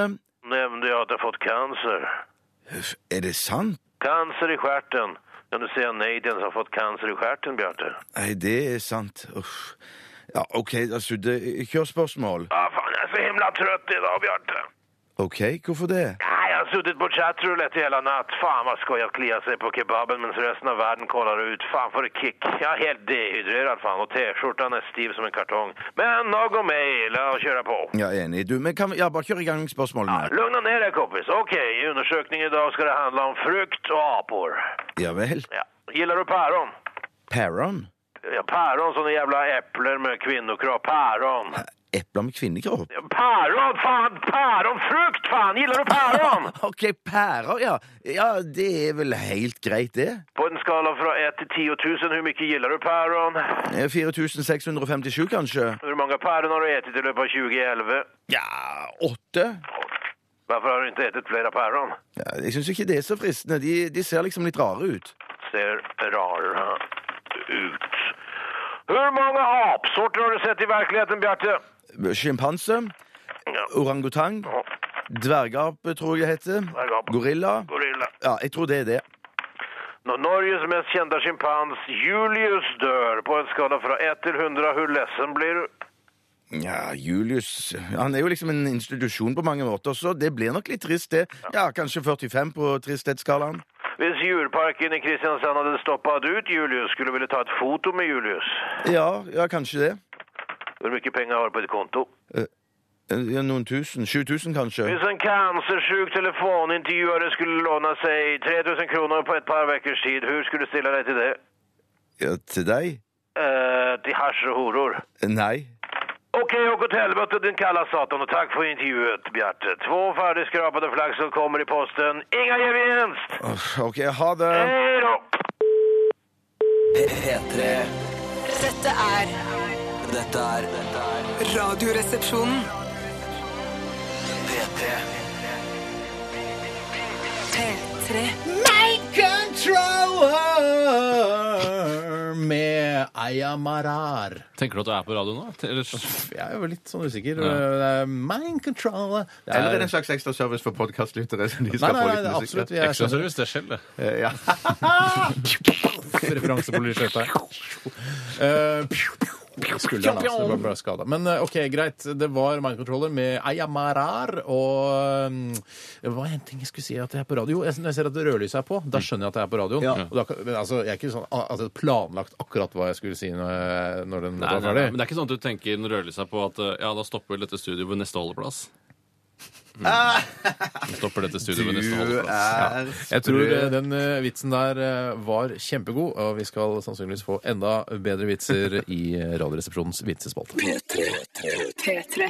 S7: Nämnde jag att jag fått cancer.
S4: Uff, Er det sant?
S7: Cancer i stjärten. Kan du säga nej till den som fått cancer i stjärten, Bjarte?
S4: Nei, det er sant. Uff. Ja, OK, da, Sudde, kjør spørsmål.
S7: Ah, fan, jag är så himla trött idag, Bjarte.
S4: OK, hvorfor det?
S7: Nej, jag har suttit på chattroulette hela natt. Fan vad skoj att klia sig på kebaben medan resten av världen kollar ut. Fan för kick. Jag är helt dehydrerad fan och t-skjortan är stiv som en kartong. Men nog om mig, låt oss köra på.
S4: Ja, enig. Du, men kan vi, ja, bare kjør i gang med spørsmålene.
S7: Lugna ner dig kompis. Okej, i undersökningen idag ska det handla om frukt och apor.
S4: Ja vel.
S7: Ja. Gillar du päron?
S4: Paron?
S7: Ja, päron som är jävla äpplen med kvinnokropp. Päron.
S4: Epler med kvinnekropp?
S7: Päron, fan! Päronfrukt, fan! Gillar du päron?
S4: OK, pærer, ja. Ja, det er vel helt greit, det.
S7: På en skala från 1 till 10 000, hur mycket gillar du päron?
S4: Eh, 4657, kanskje?
S7: Hur många päron har du ätit i löpet av 2011?
S4: Ja, åtte?
S7: Varför har du inte ätit flera päron?
S4: Ja, jeg syns ikke det er så fristende. De, de ser liksom litt rare ut.
S7: Ser rara ut. Hur många apsorter har du sett i verkligheten, Bjarte?
S4: Sjimpanse,
S7: Ja,
S4: orangutang, dvergape, tror jeg det heter.
S7: Dvergape.
S4: Gorilla.
S7: gorilla.
S4: Ja, jeg tror det er det.
S7: Nå, Norges mest kända schimpans, Julius, dör. På en skala från 1 till 100, hur ledsen blir du?
S4: Ja, Julius Han er jo liksom en institusjon på mange måter, så det blir nok litt trist, det. Ja, kanskje 45 på tristhetsskalaen.
S7: Hvis djurparken i Kristiansand hade stoppat ut Julius, skulle du vilja ta ett foto med Julius?
S4: Ja, ja, kanskje det.
S7: Hur mycket pengar har du på ditt konto?
S4: Eh, Ja, noen tusen. 7000, kanskje.
S7: Hvis en cancersjuk telefonintervjuare skulle låna sig 3000 kronor på ett par veckors tid, hur skulle du ställa dig till det?
S4: Ja, til deg?
S7: Eh, till hasch och horor.
S4: Nei.
S7: Okej, åk åt helvete din kalla satan och tack för intervjuet, Bjarte. Två färdigskrapade flaxor kommer i posten. Inga gevinst!
S4: Åh, OK, ha det.
S7: Hej då!
S2: P3.
S6: Dette er
S2: Dette er dette er
S6: Radioresepsjonen.
S2: P3.
S6: P3.
S3: Controller med Aya Marar.
S5: Tenker du at du er på radio nå? Eller
S3: Jeg er jo litt sånn usikker.
S5: Ja.
S3: Det er Mind Controller. Det
S4: Eller er det en
S3: nei,
S4: slags ekstra service for podkastlyttere? som de
S3: nei,
S4: skal få
S3: nei,
S4: litt musikk?
S3: absolutt. Jeg
S5: Ekstra
S3: skjønner
S5: service, det er skjell, det.
S4: Eh, Ja.
S3: referanse på lille skjøtet her. Eh, skulderen. da, så det var bare skadet. Men eh, OK, greit. Det var Mind Controller med Aya Marar og mm, Det var en ting jeg skulle si at jeg er på radio. Jeg- Når jeg ser at rødlyset er på, da
S5: Mm.
S3: skjønner jeg at jeg er på radioen. Og da, kan- men altså, jeg er ikke sånn ah, altså, planlagt akkurat hva jeg skulle si når, jeg- når den
S5: Nei,
S3: låta var
S5: nei, nei, men
S3: ferdig.
S5: det er ikke sånn at du tenker den rødlysa på at eh, ja, da stopper dette studioet ved neste holdeplass. Mm. Stopper dette studioet ved neste
S8: Du
S5: holdeplass.
S8: er
S3: Jeg tror eh, den eh, vitsen der eh, var kjempegod, og vi skal sannsynligvis få enda bedre vitser i eh, Radioresepsjonens vitsespalte.
S6: P3.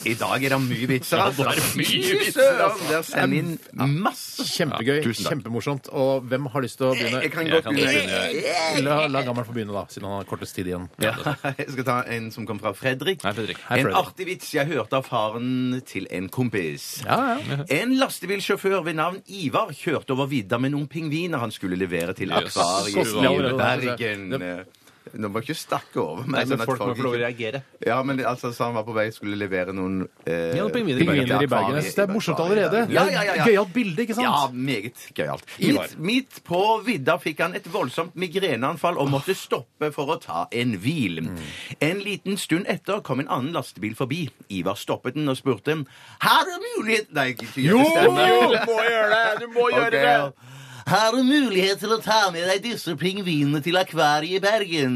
S8: I dag er det mye vitser, altså.
S5: det er mye vitser,
S8: Søren, der sender inn masse.
S3: Kjempegøy,
S5: tusen takk.
S3: kjempemorsomt. Og hvem har lyst til å begynne?
S8: Jeg kan
S5: Jeg
S8: godt
S5: kan godt
S8: begynne.
S5: begynne, jeg.
S3: La, la gammel få begynne, da, siden han har kortest tid igjen.
S8: Jeg skal ta en som kom fra Fredrik.
S5: Nei, Fredrik.
S3: Hei,
S8: En
S3: Fredrik.
S8: artig vits jeg hørte av faren til en kompis.
S3: Ja, ja.
S8: En lastebilsjåfør ved navn Ivar kjørte over vidda med noen pingviner han skulle levere til
S5: Jøss.
S8: akvariet
S5: Kostelig
S8: i
S3: allerede, altså.
S8: Bergen. Nå må jeg ikke snakke over meg. sånn at ikke-
S5: reagere.
S8: Ja, men altså, så han var på vei skulle levere noen eh,
S5: Ja, noen pingviner i Bergen.
S3: Pingviner i Bergen. Jeg synes det er morsomt allerede.
S8: Ja, ja, ja, ja.
S3: Gøyalt bilde, ikke
S8: Ja,
S3: sant?
S8: meget gøyalt.
S3: Ivar.
S8: Midt, midt på vidda fikk han et voldsomt migreneanfall og måtte stoppe for å ta en hvil.
S3: Mm.
S8: En liten stund etter kom en annen lastebil forbi. Ivar stoppet den og spurte Har du mulighet Nei, ikke gjør det stemme.
S3: må gjøre det! Du må
S8: Ok. Har du mulighet til å ta med deg disse pingvinene til akvariet i Bergen?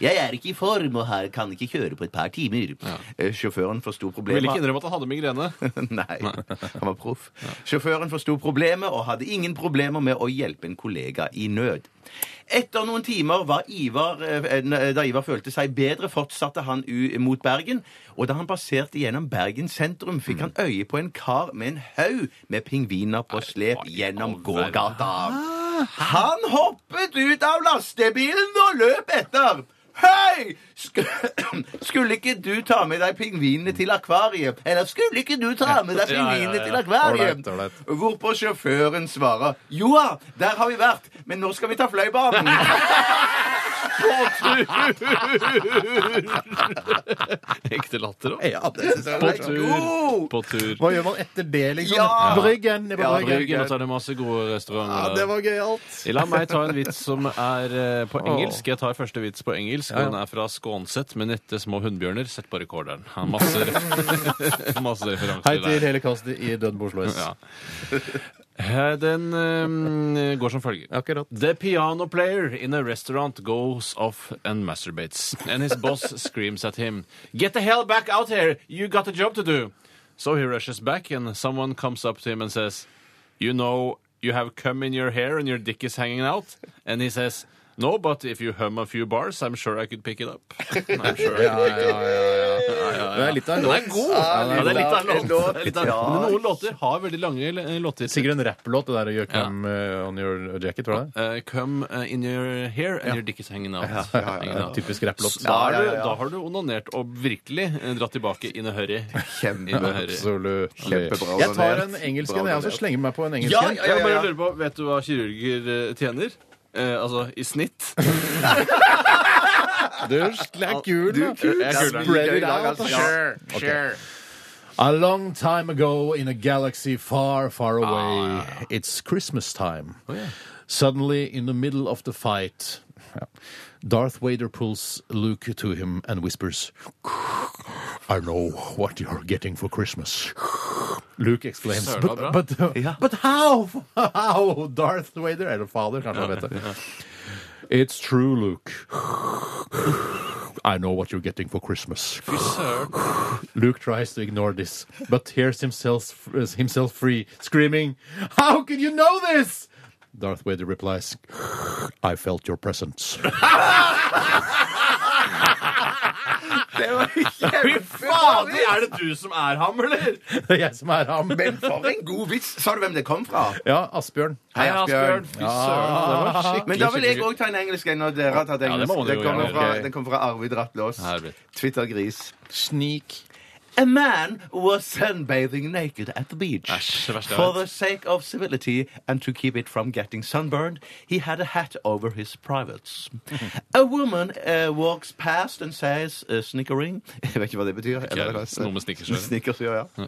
S8: Jeg er ikke i form og har, kan ikke kjøre på et par timer. Eh, Sjåføren forsto
S5: Jeg
S8: problemet.
S5: ville ikke innrømme at han hadde migrene.
S8: Nei, han var proff. Sjåføren forsto problemet og hadde ingen problemer med å hjelpe en kollega i nød. Etter noen timer var Ivar, eh, da Ivar følte seg bedre, fortsatte han u mot Bergen. Og da han passerte gjennom Bergen sentrum, fikk han øye på en kar med en haug med pingviner på slep
S5: hva i
S8: gjennom
S5: all verden?
S8: gågata. Han hoppet ut av lastebilen og løp etter. Hei! Sk skulle ikke du ta med deg pingvinene til akvariet? Eller skulle ikke du ta med deg
S5: Ja, ja, ja, ja.
S8: pingvinene til akvariet?
S3: Ålreit, ålreit.
S8: Hvorpå sjåføren svarer Joa, der har vi vært, men nå skal vi ta fløibanen.
S5: Ekte latter òg.
S3: Ja, det synes jeg er
S5: På
S3: veldig
S5: tur.
S8: God!
S5: På tur.
S3: Hva gjør man etter det, liksom?
S8: Ja!
S3: Bryggen! Det var,
S8: Ja,
S3: bryggen.
S5: Bryggen, og så er det masse gode
S3: Ja,
S5: restauranter.
S3: det var gøyalt.
S5: La meg ta en vits som er eh, på
S3: Åh.
S5: engelsk. Jeg tar første vits på engelsk. og Den er fra Skånset med nette små hunnbjørner. Sett på rekorderen. Han har masse, ref- masse
S3: Hei
S5: referanser
S3: til
S5: der.
S3: hele kastet i Dødbo Oslo S.
S5: Ja. Eh, Den eh, går som følger.
S3: Akkurat.
S5: The piano player in a restaurant goes off and masturbates, and his boss screams at him, Get the hell back out here! You got a job to do! So he rushes back, and someone comes up to him and says, You know, you have cum in your hair and your dick is hanging out. And he says, No, but if you hum a few bars, I'm sure I could pick it up. I'm sure.
S3: Ja, ja, ja, ja, ja. Det er litt av en låt.
S5: Ja, det er litt av en låt.
S8: låt.
S5: Det er litt av en
S8: Ah.
S5: låt. Men noen låter har veldig lange eh, låter.
S3: Sikkert en rapplåt, det der å gjøre Come eh, on your jacket, tror jeg.
S5: Eh, cum eh, in your hair and your dick is hanging out. Hanging out.
S3: Typisk rapplåt.
S5: Da, er
S8: Ja,
S5: du,
S8: ja, ja.
S5: da har du onanert og virkelig eh, dratt tilbake in a hurry. In a hurry.
S3: Absolutt.
S8: Kjempebra
S3: Jeg tar en
S8: ordinert.
S3: engelsk
S8: Bra
S3: en, jeg også.
S8: ordinert.
S3: Slenger meg på en engelsk
S8: Ja,
S3: en.
S8: ja, ja,
S5: Jeg
S8: ja.
S5: bare lurer på, Vet du hva kirurger eh, tjener? Eh, altså i snitt.
S3: Du er kul, da.
S8: Spread
S3: Spread
S8: it
S3: it out.
S8: out.
S3: Sure, sure. A long time ago, in a galaxy far, far away, it's Christmas time. Suddenly, in the middle of the fight, Darth Vader pulls Luke to him and whispers, I know what you're getting for Christmas. Luke exclaims,
S5: Søren,
S3: but,
S5: det var
S3: but, uh, but how? How? Darth Vader? Eller fader, kanskje han vet det. It's true, Luke. I know what you're getting for Christmas. Luke tries to ignore this, but hears himself himself free, screaming, "How could you know this?" Darth Vader replies, "I felt your presence."
S8: Det var
S5: Fader,
S8: kjempebra!
S5: er det du som er ham, eller?
S3: Det er jeg som er ham.
S8: Men for en god vits! Sa du hvem det kom fra?
S3: Ja, Asbjørn.
S5: Hei, Asbjørn. Fy søren, det var
S8: Men da vil jeg òg ta en engelsk en når dere har tatt
S5: det
S8: engelsk.
S5: må man
S8: Den
S5: jo
S8: kommer
S5: gjøre.
S8: fra,
S5: Ok.
S8: den kommer fra Arvid Rattlås.
S5: Arvid.
S8: Twitter-gris.
S3: Snik.
S8: A man was sunbathing naked at the beach.
S5: Æsj, det verste jeg
S8: For
S5: vet.
S8: the sake of civility and to keep it from getting sunburned, he had a hat over his privates. a woman uh, walks past and says, uh, snickering Jeg vet ikke hva det betyr. eller-
S5: noe med snickers å gjøre.
S8: Snickers å gjøre, ja.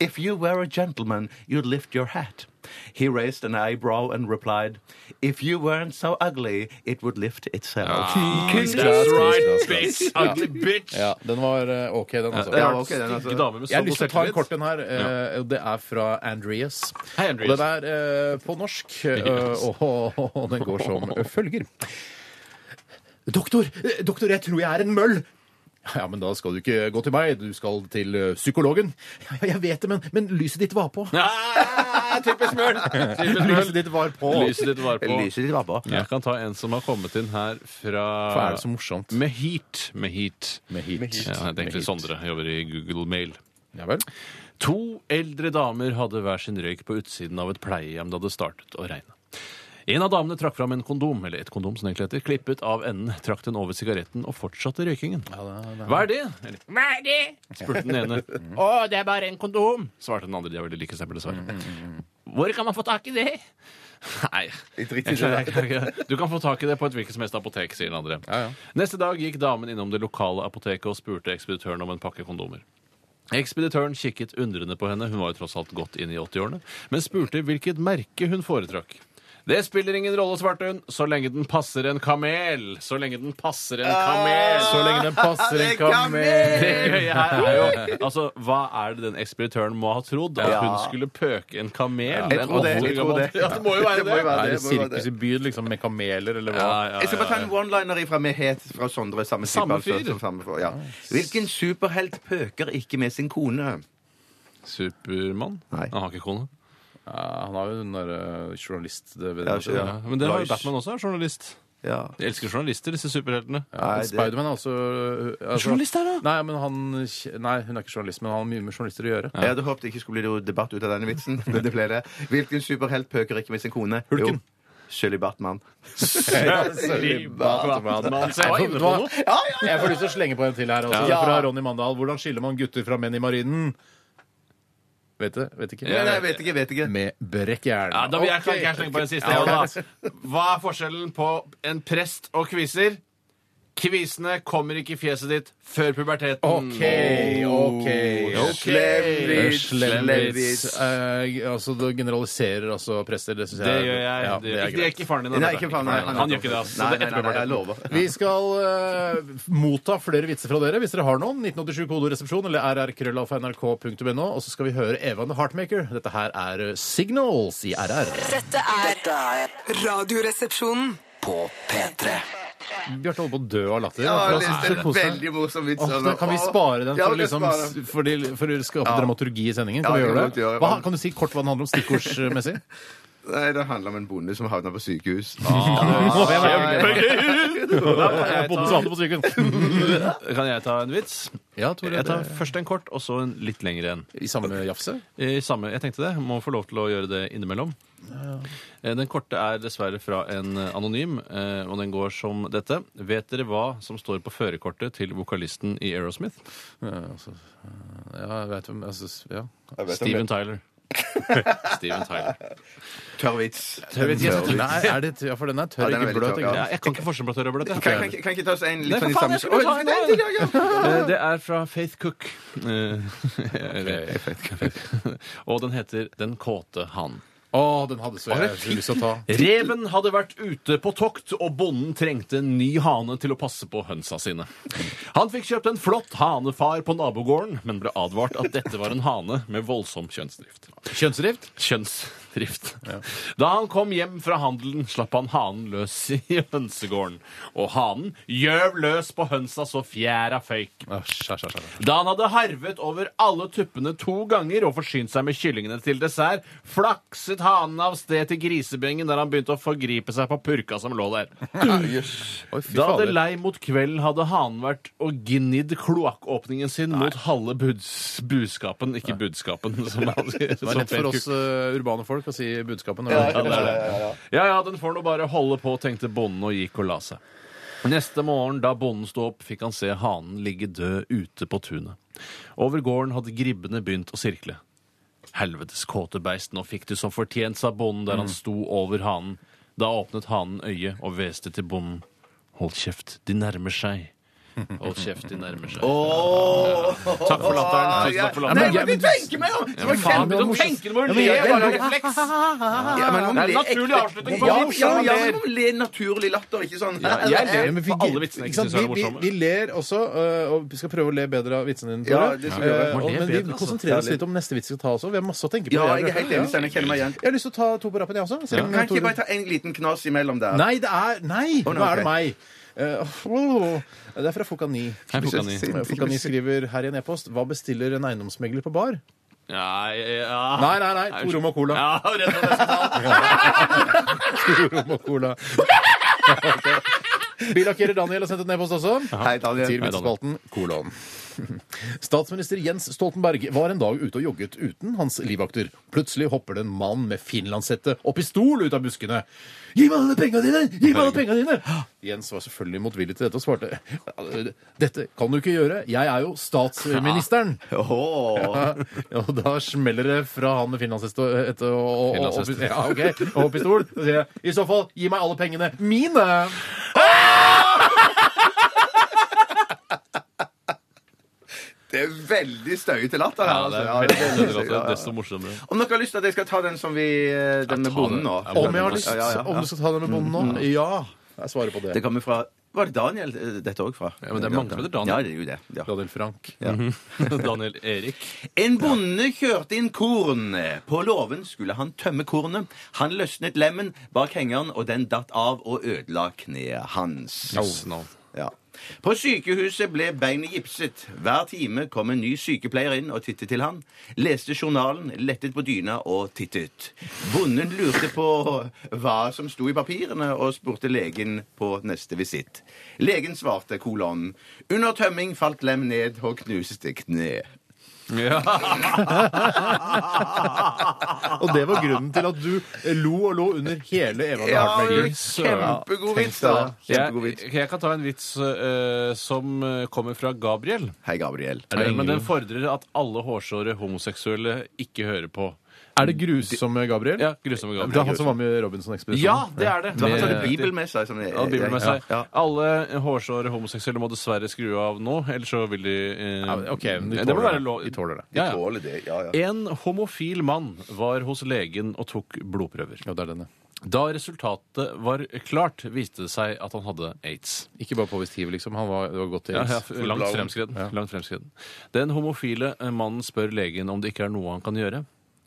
S8: If you were a gentleman, you'd lift your hat.
S4: He raised an eyebrow and replied, If you weren't so ugly, it would lift itself.
S3: Ah,
S5: Ah.
S3: That's right,
S5: bitch! Ugly bitch!
S3: Ja, den var eh, OK, den, altså.
S4: Ja, ok, den, altså.
S5: Stygge damer
S3: Jeg
S5: med så
S3: har lyst til å ta en
S5: god
S3: kort en her. eh, og Det er fra Andreas.
S5: Hei, Andreas.
S3: Og den er eh, på norsk, eh, og, og den går som følger. Doktor, eh, doktor, jeg tror jeg er en møll. Ja, men da skal du ikke gå til meg, du skal til eh, psykologen. Ja, jeg vet det, men, men lyset ditt var på.
S5: Ah, Typisk møl! Typisk møl.
S3: Lyset ditt var på.
S5: Lyset ditt var på.
S4: Lyset ditt var på.
S5: Jeg kan ta en som har kommet inn her fra
S3: Hvorfor er det så morsomt?
S5: Med heat. Med heat.
S3: Med hit.
S5: Ja, han heter egentlig Sondre. Jobber i Google Mail.
S3: Ja vel.
S5: To eldre damer hadde hver sin røyk på utsiden av et pleiehjem da det startet å regne. En av damene trakk fram en kondom, eller et kondom som det egentlig heter, klippet av enden, trakk den over sigaretten og fortsatte røykingen. Hva er det? Eller, Hva er det? spurte den ene. Å, det er bare en kondom, svarte den andre. De er veldig like eksempel, dessverre. Hvor kan man få tak i det? Nei, jeg klarer, jeg klarer ikke det. Du kan få tak i det på et hvilket som helst apotek, sier den andre. Neste dag gikk damen innom det lokale apoteket og spurte ekspeditøren om en pakke kondomer. Ekspeditøren kikket undrende på henne, hun var jo tross alt godt inne i 80-årene, men spurte hvilket merke hun foretrakk. Det spiller ingen rolle, svarte hun, så lenge den passer en kamel. Så lenge den passer en
S4: Ah,
S5: kamel.
S3: Så lenge den passer en kamel.
S5: Det gøye her er jo Altså, hva er det den ekspeditøren må ha trodd? At hun skulle pøke en kamel?
S4: Jeg tror det, jeg tror det.
S5: Ja, det må jo være
S4: Det må jo
S5: det.
S4: være
S3: Er det
S4: det må jo være
S3: sirkus i byen, liksom, med kameler, eller hva?
S5: Ja, ja,
S4: Jeg skal bare
S5: ja.
S4: ta en one-liner fra Mehet fra Sondre. Samme, type,
S5: Samme
S4: altså,
S5: fyr.
S4: som samme fyr, ja. Hvilken superhelt pøker ikke med sin kone?
S5: Supermann?
S4: Nei.
S5: Han har ikke kone.
S3: Ja, han har jo den derre journalist... Det,
S4: Ja, ja.
S5: Ja, men det har
S4: Lois.
S5: jo Batman også, er journalist.
S4: Ja.
S5: De elsker journalister, disse superheltene.
S4: Nei, det-
S3: Spiderman er også øh, altså,
S5: Journalist er det?
S3: Nei, men han, nei, hun er ikke journalist, men han har mye med journalister å gjøre.
S4: Jeg hadde håpet det ikke skulle bli noe debatt ut av denne vitsen. Men det ble det. Hvilken superhelt pøker ikke med sin kone?
S3: Hulken.
S4: Shelly Batman.
S3: Shelly Batman.
S5: Så jeg var inne på noe.
S3: Ja, ja, ja. Jeg får lyst til å slenge på en til her. Altså,
S4: Ja.
S3: Fra Ronny Mandal. Hvordan skiller man gutter fra menn i marinen? Vet du? Vet ikke.
S4: Nei, nei, vet ikke, vet ikke.
S3: Med brekkjern.
S5: Ja, da vil jeg
S3: Ok.
S5: kan jeg slenge på den siste. jeg, da. Hva er forskjellen på en prest og kviser? Kvisene kommer ikke i fjeset ditt før puberteten.
S3: OK, OK.
S5: Slemmvits,
S3: Slemmvits. Eh, altså, du generaliserer altså prester. Det syns jeg
S5: Det gjør jeg.
S3: Ja,
S5: det, gjør ikke, det er ikke faren din.
S4: Nei,
S5: dette.
S4: ikke faen, nei,
S5: Han gjør ikke det. altså. Så
S4: Nei,
S5: det er
S4: nei,
S5: etter
S4: nei, nei, jeg
S5: puberteten.
S4: lover.
S3: Vi skal eh, motta flere vitser fra dere hvis dere har noen. 1987 kodoresepsjon eller rrkrøllalfa.nrk.no. Og så skal vi høre Evan the Heartmaker. Dette her er eh, Signals i RR.
S6: Dette er
S2: Dette er
S1: Radioresepsjonen.
S2: på P3.
S3: Bjarte holder på å dø av latter.
S4: Ja, det er
S3: For han synes
S4: en
S3: det koser seg.
S4: veldig morsom vits.
S3: Åh,
S4: altså.
S3: kan vi spare den
S4: Ja, vi
S3: for,
S4: kan
S3: liksom,
S4: spare den.
S3: for, de, for å skape dramaturgi i sendingen?
S4: Ja,
S3: Kan vi
S4: det kan
S3: gjøre
S4: vi
S3: det?
S4: godt gjøre.
S3: Hva, kan du si kort hva den handler om stikkordsmessig?
S4: Nei, det handler om en bonde som havna på sykehus.
S3: Åh, jeg var-
S5: jeg
S3: Bonden som hadde på sykehus.
S5: Kan jeg ta en vits?
S3: Ja, Tore.
S5: Jeg tar
S3: det-
S5: først en kort, og så en litt lengre en.
S3: I samme jafse?
S5: I samme, jeg tenkte det. Må få lov til å gjøre det innimellom. Eh, Den korte er dessverre fra en eh, anonym, eh, og den går som dette. Vet dere hva som står på førerkortet til vokalisten i Aerosmith?
S3: Ja, altså, ja, jeg vet hvem altså, ja.
S5: Steven Tyler. Steven Tyler.
S4: Tørr vits.
S3: Nei, er det, ja, for den er
S4: Ja,
S3: tørr,
S4: den er
S3: ikke
S4: veldig
S3: bløt.
S4: tørr,
S3: ikke
S4: ja.
S5: Ja, jeg kan ikke forskjellen på tørr og bløt. jeg.
S4: Kan, kan, kan ikke ta oss en
S5: Nei,
S4: litt
S5: for
S4: sånn i
S5: faen,
S4: samme
S5: jeg skulle ta
S4: Oi,
S5: en
S4: nei, ja, ja.
S5: Eh, Det er fra Faith Cook. Eh, og den heter Den kåte han.
S3: Å, den hadde så jeg skulle lyst til å ta.
S5: Reven hadde vært ute på tokt, og bonden trengte en ny hane til å passe på hønsa sine. Han fikk kjøpt en flott hanefar på nabogården, men ble advart at dette var en hane med voldsom kjønnsdrift.
S3: Kjønnsdrift?
S5: Kjønnsdrift. Da han kom hjem fra handelen, slapp han hanen løs i hønsegården. Og hanen gjøv løs på hønsa så fjæra føyk.
S3: Å, skjær, skjær, skjær.
S5: Da han hadde harvet over alle tuppene to ganger og forsynt seg med kyllingene til dessert, flakset hanen av sted til grisebengen der han begynte å forgripe seg på purka som lå der.
S3: Oi, fy
S5: Da det
S3: fader.
S5: lei mot kvelden hadde hanen vært og gnidd kloakkåpningen sin mot halve buds budskapen Ikke budskapen, som han sier.
S3: Det er lett for oss eh, urbane folk å si budskapen.
S5: Ja, det er det. Ja, ja, den får nå bare holde på, tenkte bonden og gikk og la seg. Neste morgen, da bonden sto opp, fikk han se hanen ligge død ute på tunet. Over gården hadde gribbene begynt å sirkle. Helvetes kåte beist, nå fikk du som fortjent, sa bonden der han sto over hanen. Da åpnet hanen øyet og hveste til bonden. Hold kjeft, de nærmer seg. Hold kjeft, de nærmer seg.
S4: Takk
S5: for latteren. Tusen takk for latteren.
S4: Nei, men
S3: Ja,
S4: de
S3: men-
S4: tenker meg om!
S5: Ja, men faen,
S3: det var
S5: du
S3: morsomt.
S5: tenker hvor
S4: Ja, men jeg-
S5: ler bare av refleks!
S4: Ja, men om
S5: Det er en
S4: det ekte-
S5: naturlig avslutning på
S4: Ja,
S5: en vits,
S4: ja,
S5: man
S4: ja,
S5: ler.
S4: men om le naturlig latter, ikke sånn
S5: Ja, jeg ler.
S3: Ja, men vi,
S5: For alle vitsene
S3: ikke sant,
S5: jeg synes er
S3: vi, vi,
S5: morsomme.
S3: vi ler også, øh, og vi skal prøve å le bedre av vitsene dine.
S4: Ja,
S3: Tore.
S4: det skal vi gjøre.
S3: Eh,
S5: Må le
S3: og- men vi
S5: bedre, altså.
S3: konsentrerer oss litt om neste vits vi skal ta også. Vi har masse å tenke på.
S4: Ja,
S3: og
S4: jeg er
S3: Bjarte.
S4: helt enig, Steinar. Jeg Kjenner meg igjen.
S3: Jeg har lyst til å ta to på rappen, jeg også. selv om
S4: Kan ikke jeg
S3: Tore-
S4: bare ta en liten knas imellom der?
S3: Nei, det er Nei!
S4: Å, nei,
S3: Nå er
S4: ok.
S3: det meg. Eh, åh, det er fra Fokani.
S5: Hei, Pokani.
S3: Fokani skriver her i en e-post Hva bestiller en eiendomsmegler på bar?
S5: Nei, ja.
S3: Nei, nei, nei. To rom og cola.
S5: Ja, rett og slett.
S3: To rom og cola. Billakkerer Daniel har sendt en e-post også.
S4: Hei,
S3: Til
S4: Daniel.
S3: midtspalten kolon. Statsminister Jens Stoltenberg var en dag ute og jogget uten hans livvakter. Plutselig hopper det en mann med finlandshette og pistol ut av buskene. Gi meg alle penga dine! Gi meg alle penga dine! Jens var selvfølgelig motvillig til dette og svarte dette kan du ikke gjøre, jeg er jo statsministeren.
S4: Åh.
S3: Ja, og da smeller det fra han med finlandshest og, etter, og, og, og,
S5: Finlandshest.
S3: ja, ok, og pistol. Så sier jeg i så fall gi meg alle pengene mine!
S4: Det er veldig støyete latter her.
S5: Ja, det
S4: altså.
S5: er
S4: Ja,
S5: veldig
S4: det er
S5: veldig
S4: veldig
S5: godt.
S4: støyete, ja,
S5: Desto morsommere.
S4: ja. Om dere har lyst til at jeg skal ta den som vi eh, Den med
S5: ta
S4: bonden
S5: den.
S4: nå?
S5: Ja, Mm.
S3: Om jeg har lyst,
S4: Ja, ja, ja.
S3: om du skal ta det med bonden nå? Ja. Jeg svarer på det.
S4: Det kommer fra Var det Daniel eh, dette òg fra?
S5: Ja, men det er mange som heter Daniel.
S4: Ja, det er jo det. Ja.
S3: Daniel Frank. Mhm.
S5: Daniel Erik.
S4: En bonde kjørte inn korn. På låven skulle han tømme kornet. Han løsnet lemmen bak hengeren, og den datt av og ødela kneet hans.
S5: Navn.
S4: Ja. På sykehuset ble beinet gipset. Hver time kom en ny sykepleier inn og tittet til han. Leste journalen, lettet på dyna og tittet. Bonden lurte på hva som sto i papirene, og spurte legen på neste visitt. Legen svarte kolon. Under tømming falt lem ned og knuste kne.
S5: Ja.
S3: Og det var grunnen til at du lo og lå under hele Eva øh, ja,
S4: Ja,
S3: Hartmegger.
S4: kjempegod vits, da.
S5: Jeg,
S4: Kjempegod vits.
S5: jeg kan ta en vits eh, som eh, kommer fra Gabriel.
S4: Hei, Gabriel.
S3: det
S5: Men den
S3: Ingrid?
S5: fordrer at alle hårsåre homoseksuelle ikke hører på.
S3: Er det grusomme, Gabriel?
S5: Ja, grusomme
S3: Det er
S5: Gabriel.
S3: han som var med i Robinson-ekspedisjonen.
S5: Ja, det er det!
S4: Da har han
S5: Med-
S4: Bibel med seg. Som
S3: Eh,
S5: Ja, Bibelen med seg.
S4: Ja, ja.
S5: Alle hårsåre homoseksuelle må dessverre skru av nå, ellers så vil de eh,
S3: Ja, men ok, men de
S5: det
S3: tåler
S5: må være
S3: det.
S5: lov.
S3: De tåler det.
S5: Ja, ja.
S4: Tåler det, ja, ja.
S5: En homofil mann var hos legen og tok blodprøver.
S3: Ja, det er denne.
S5: Da resultatet var klart, viste det seg at han hadde aids.
S3: Ikke bare påvist hiv, liksom. Han var, det var godt til
S5: Ja, ja,
S3: aids.
S5: langt fremskreden. Langt fremskreden. Den homofile eh, mannen spør legen om det ikke er noe han kan gjøre.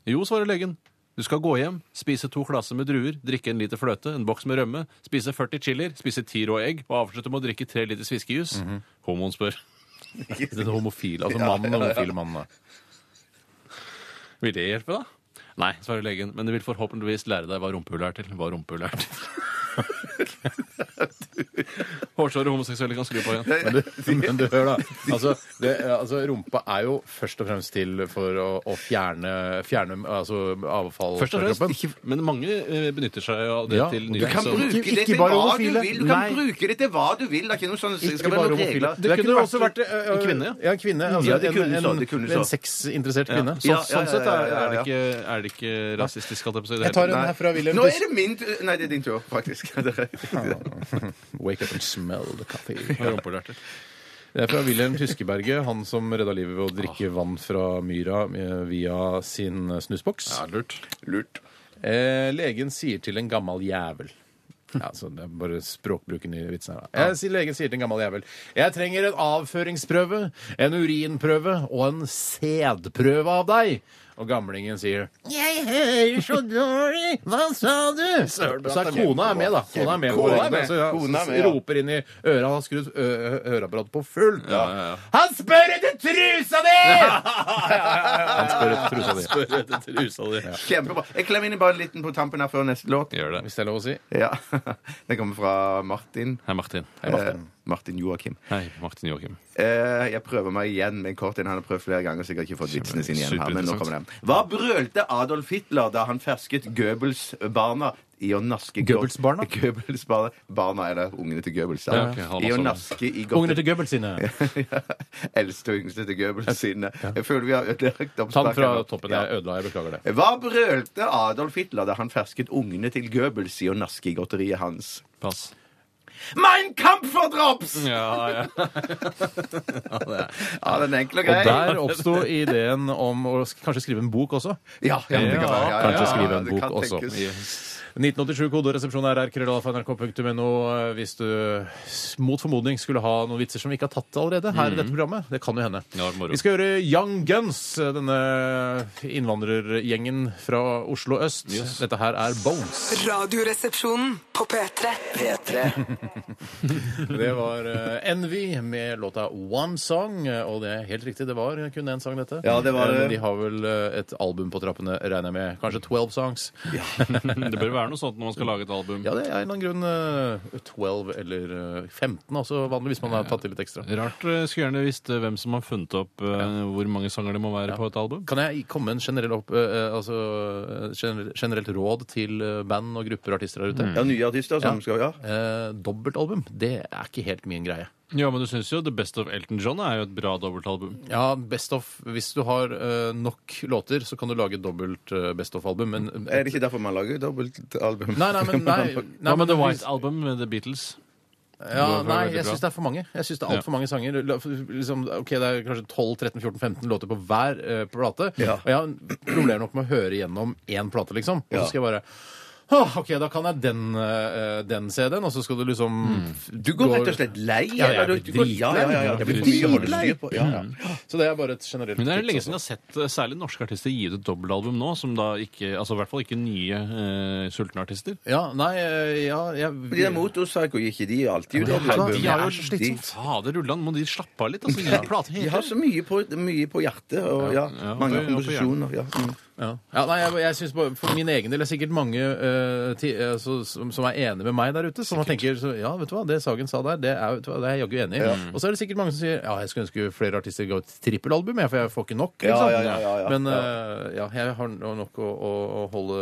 S5: Jo, svarer legen. Du skal gå hjem, spise to glaser med druer, drikke en liter fløte, en boks med rømme, spise 40 chilier, spise ti rå egg og avslutte med å drikke tre liter sviskejus. Homoen spør.
S3: Mhm. Den homofile, altså mannen, den homofile mannen. da.
S5: Vil det hjelpe, da? Nei, svarer legen, men det vil forhåpentligvis lære deg hva rumpehull er til. Hva rumpehull er til. Hårsåre homoseksuelle kan skru på igjen.
S3: Men du, men du hør, da. Altså, det, altså, rumpa er jo først og fremst til for å, å fjerne, fjerne altså, avfall
S5: Først og
S3: fra
S5: fremst,
S3: kroppen.
S5: ikke, men mange eh, benytter seg av det
S3: Ja,
S5: til
S3: du
S5: nye
S4: Du kan
S5: som-
S4: bruke
S3: sånn- Ikke-
S4: det
S3: ikke
S4: til
S3: bare
S4: hva du
S3: homofile.
S4: vil. Du kan
S3: Nei.
S4: bruke det til hva du vil. Det er ikke noe sånn det
S3: Ikke
S4: skal være
S3: bare
S4: noen
S3: homofile.
S4: regler.
S3: Det, kunne jo også vært ø, ø,
S5: en kvinne, ja.
S3: Ja, en kvinne. Altså,
S4: Ja, det kunne
S3: en,
S4: så,
S3: en,
S4: det kunne
S3: en
S4: så.
S3: sexinteressert kvinne.
S5: Så,
S4: Ja, ja,
S5: sånn sett
S4: ja,
S5: er,
S4: ja, ja,
S5: er, det
S4: ja.
S5: ikke, er det ikke rasistisk. Holdt jeg på å si, det
S3: Jeg tar
S5: hele
S3: en her fra Wilhelm
S4: Nå er det min tur. Nei, det er din tur, faktisk. Det er-
S3: Wake up and smell the coffee.
S5: tatt rumpelærter.
S3: Det er fra Wilhelm Tyskeberget, han som redda livet ved å drikke vann fra myra eh, via sin eh, snusboks.
S5: lurt.
S4: Lurt.
S3: Eh, legen sier til en gammel jævel ja, altså, Det er bare språkbruken i vitsen her. da. Jeg, sier- legen sier til en gammel jævel Jeg trenger en avføringsprøve, en urinprøve og en sædprøve av deg. Og gamlingen sier Jeg hører så dårlig! Hva sa du? Så er kona er med, da. Kona er med på
S4: Kona er
S3: det.
S4: med.
S3: Så ja,
S4: Kona er
S3: så
S4: med, ja.
S3: roper inn i øret. Han har skrudd ø- ø- høreapparatet på fullt.
S5: ja, ja.
S3: Han spør etter trusa di! Han spør etter trusa di.
S4: Kjempebra. Jeg klemmer inn bare en liten på tampen her før neste låt.
S5: Gjør det.
S3: Hvis det er lov å si.
S4: Ja. Den kommer fra Martin.
S5: Hei, Martin.
S4: Eh, Martin Joakim.
S5: Hei, Martin Joakim.
S4: Eh, jeg prøver meg igjen med en kort en. Han har prøvd flere ganger, så jeg har ikke fått vitsene sine igjen her. Men nå
S5: superinteressant.
S4: kommer den. Hva brølte Adolf Hitler da han fersket Goebbels-barna i å naske
S3: Goebbels-barna?
S4: Goebbels-barna Barna er det ungene til Goebbels. da.
S5: Ja, ok, han
S4: I å
S5: også.
S4: naske i
S3: sånn. Ungene til Goebbels sine.
S4: Ja. Eldste og yngste til Goebbels sine. Jeg føler vi har ødelagt
S3: Ta den
S4: oppsparken
S3: fra
S4: nå.
S3: toppen.
S4: Ja.
S3: Jeg ødela, jeg beklager det.
S4: Hva brølte Adolf Hitler da han fersket ungene til Goebbels i å naske i godteriet hans?
S5: Pass.
S4: Mein Kampferdrops!
S5: Ja, ja.
S4: Ja, den er enkel og grei.
S3: Og der oppsto ideen om å sk- kanskje skrive en bok også.
S4: Ja, ja, det kan være. ja, ja,
S3: kanskje
S4: ja,
S3: skrive en
S4: det
S3: bok
S4: kan
S3: også.
S4: tenkes.
S3: 1987 koderesepsjon RR, krøllalfa.nrk.no eh, hvis du s- mot formodning skulle ha noen vitser som vi ikke har tatt allerede her i dette programmet. Det kan jo hende.
S5: Ja, moro.
S3: vi skal gjøre Young Guns, eh, denne innvandrergjengen fra Oslo øst. Dette her er Bones.
S6: Radioresepsjonen på P3.
S2: P3.
S3: Det var eh, Envy med låta One Song. eh, Og det er helt riktig, det var kun én sang, dette.
S4: Ja, det var
S3: Eh, men
S4: det.
S3: De har vel eh, et album på trappene, regner jeg med. Kanskje 12 songs. Ja,
S5: Det bør være noe sånt når man skal lage et album.
S3: det er en eller annen grunn eh, 12 eller eh, 15, altså vanlig, hvis man har tatt til litt ekstra.
S5: Rart. eh, Skulle gjerne visst eh, hvem som har funnet opp eh, hvor mange sanger det må være på et album.
S3: Kan jeg komme med en generell opp, eh, eh, altså, eh, gener- generelt råd til eh, band og grupper og artister der ute?
S4: Ja, nye artister som
S3: Mm. Ja.
S4: skal Ja.
S3: Eh, dobbeltalbum, det er ikke helt min greie.
S5: Ja, men du syns jo The Best of Elton John er jo et bra dobbeltalbum.
S3: Ja, best of Hvis du har eh, nok låter, så kan du lage dobbelt eh, best of-album, men
S4: Er det ikke derfor man lager dobbeltalbum?
S3: Nei, nei, men nei, nei,
S5: Hva med
S3: men-
S5: The White Album med The Beatles?
S3: Ja,
S5: Det var
S3: nei,
S5: veldig
S3: jeg
S5: bra.
S3: syns det er for mange. Jeg synes det er alt for mange sanger. La- Liksom, ok, Det er kanskje 12-13-14-15 låter på hver eh, plate.
S4: Ja.
S3: Og jeg har problemer nok med å høre gjennom én plate, liksom. Og så skal jeg bare «Åh, OK, da kan jeg den, eh, den CD-en, og så skal du liksom
S4: Mm. Du går rett og slett lei?
S3: Ja, jeg
S4: eller?
S3: blir
S4: Du går- ja, ja, ja, ja.
S3: dritlei.
S4: Det blir for
S3: Jeg blir
S4: mye å holde
S3: dritlei.
S4: styr på. Ja,
S5: Mm.
S4: ja.
S3: Så det er bare et generelt
S5: Men det er
S3: tips,
S5: lenge
S3: altså.
S5: siden jeg har sett eh, særlig norske artister gi ut et dobbeltalbum nå, som da ikke Altså i hvert fall ikke nye eh, sultne artister.
S3: Ja, nei, eh, ja jeg,
S4: De der motorsaker gir ikke de alltid ut
S3: Herregud,
S4: dobbeltalbum?
S3: de har jo slitsomt.
S5: Fader ulland, må de slappe av litt? Altså, ja. plate
S4: De har så mye på, mye på hjertet, og ja,
S5: Ja,
S4: mange
S5: og på- og på
S4: komposisjoner. Ja. Mm.
S3: Ja. ja, nei, jeg, jeg synes bare, For min egen del er det sikkert mange eh, ti, eh, så, som, som er enig med meg der ute. Som tenker så, ja, vet du hva, det Sagen sa der, det er, vet du hva, det er jeg jaggu enig i. Og så er det sikkert mange som sier ja, jeg skulle ønske flere artister ga ut trippelalbum, jeg, for jeg får ikke nok.
S4: Ja,
S3: liksom.
S4: ja, ja, ja, ja.
S3: Men eh, ja, jeg har no- nok å, å, å holde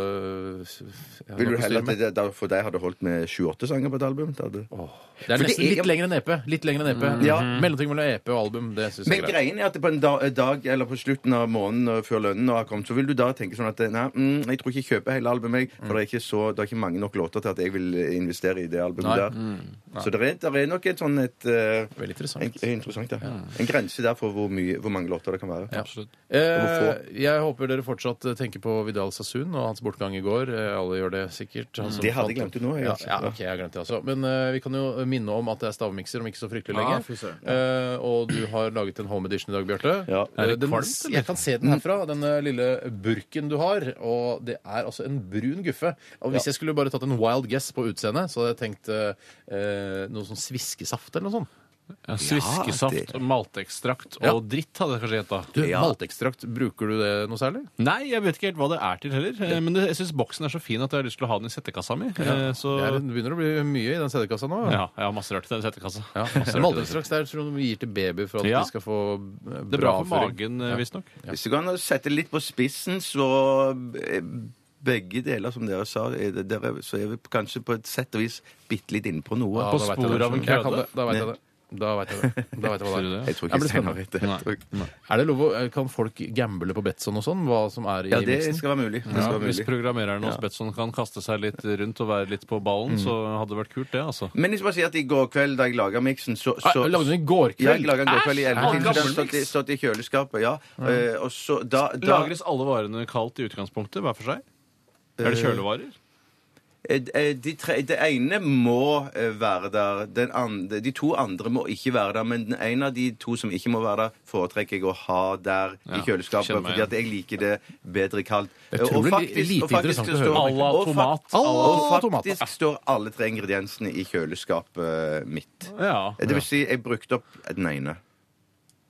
S3: jeg har
S4: Vil du
S3: nok å styre
S4: heller at
S3: med.
S4: det, da, for deg hadde holdt med 28 sanger på et album? Det hadde...
S3: Det er
S4: For det
S3: nesten
S4: er- Mm.
S3: litt lengre enn EP. Litt lengre enn EP.
S4: Ja.
S3: Mellomting mellom EP og album, det syns jeg
S4: Men
S3: er greit.
S4: greien er at på en da, dag eller på slutten av måneden og før lønnen har kommet, så vil du da tenke sånn at nei, mm, jeg tror ikke jeg kjøper hele albumet, jeg, for det er, ikke så, det er ikke mange nok låter til at jeg vil eh, investere i det albumet
S3: Nei. Mm.
S4: der. Så det er, det er nok et sånn et eh,
S3: Veldig interessant.
S4: En, en, interessant ja. en grense der for hvor, mye, hvor mange låter det kan være.
S3: Ja.
S5: Absolutt.
S3: Eh,
S4: Hvorfor?
S3: jeg håper dere fortsatt eh, tenker på Vidal Sassoon og hans bortgang i går. Eh, alle gjør det sikkert. Han som
S4: Det hadde
S3: fant-
S4: jeg glemt ut nå, jeg,
S3: ja,
S4: altså.
S3: ja, ok, jeg har glemt det også. Men eh, vi kan jo minne om at det er stavmikser om ikke så fryktelig lenge. eh, og du har laget en home edition i dag, Bjarte.
S4: Ja.
S3: Eh,
S5: Er det
S3: den-
S5: kvalmt, eller?
S3: Jeg kan se den herfra, den eh, lille burken du har. Og det er altså en brun guffe. Og hvis jeg skulle bare tatt en wild guess på utseendet, så hadde jeg tenkt eh, eh, noe sånn sviskesaft eller noe sånt.
S5: Ja, Sviskesaft, malteekstrakt og
S3: Ja.
S5: dritt hadde jeg kanskje gjetta.
S3: Du, Malteekstrakt, bruker du det noe særlig?
S5: Nei, jeg vet ikke helt hva det er til heller. eh, Men det, jeg syns boksen er så fin at jeg har lyst til å ha den i settekassa mi. eh, Så
S3: Det, er, det begynner å bli mye i den CD-kassa nå.
S5: ja, jeg har masse rart i den settekassa.
S3: Ja,
S5: Masse rart i den.
S3: Maltestraks det er sånn vi gir til baby for at
S5: Ja.
S3: de skal få eh, bra,
S5: Det er bra for
S3: avføring.
S5: magen, eh, visstnok.
S4: Hvis du kan sette litt på spissen, så eh, begge deler, som dere sa, er det, dere, så er vi kanskje på et sett og vis bitte litt inne på noe.
S3: Ja,
S5: På
S3: da vet jeg
S5: sporet
S3: det.
S5: av en
S3: Jeg kan
S5: køde.
S3: det. Da vet jeg det. Da vet jeg det. Da vet jeg hva det
S5: Sier du det?
S3: er.
S4: Jeg tror
S3: Ja,
S4: ikke
S3: men
S4: Steinar vet det.
S5: Nei.
S4: Jeg tror ikke-
S3: Er det lov å, eh, kan folk gamble på Betson og sånn? Hva som er i
S4: Ja, det
S3: miksen?
S4: skal være mulig. Det skal være
S5: Hvis
S4: mulig.
S5: programmereren hos Betson kan kaste seg litt rundt og være litt på ballen, så hadde det vært kult, det, altså.
S4: Men jeg skal bare si at i går kveld da jeg laga miksen, så,
S3: Ah,
S4: så
S3: lagde den i går
S4: Ja, jeg
S3: kveld?
S4: laga den i går kveld i
S5: Ah,
S4: 11 timer.
S5: gammel
S4: Den stått, i-
S5: miks.
S4: stått i kjøleskapet, ja. Eh, og så da, da
S5: Lagres alle varene kaldt i utgangspunktet, hver for seg? Er det kjølevarer?
S4: eh, eh, de tre, Det ene må eh, være der. Den andre, de to andre må ikke være der. Men den ene av de to som ikke må være der, foretrekker jeg å ha der i
S5: Ja,
S4: kjøleskapet.
S5: kjenner meg
S4: Fordi at jeg liker det bedre kaldt.
S3: Jeg
S4: Eh,
S3: tror det er lite interessant å
S4: så
S3: høre.
S4: står-
S5: À la
S4: og fak-
S5: tomat. À la
S4: Og
S3: tomat.
S4: faktisk står alle tre ingrediensene i kjøleskapet eh, mitt.
S5: Ja.
S4: Det vil si, jeg brukte opp den ene.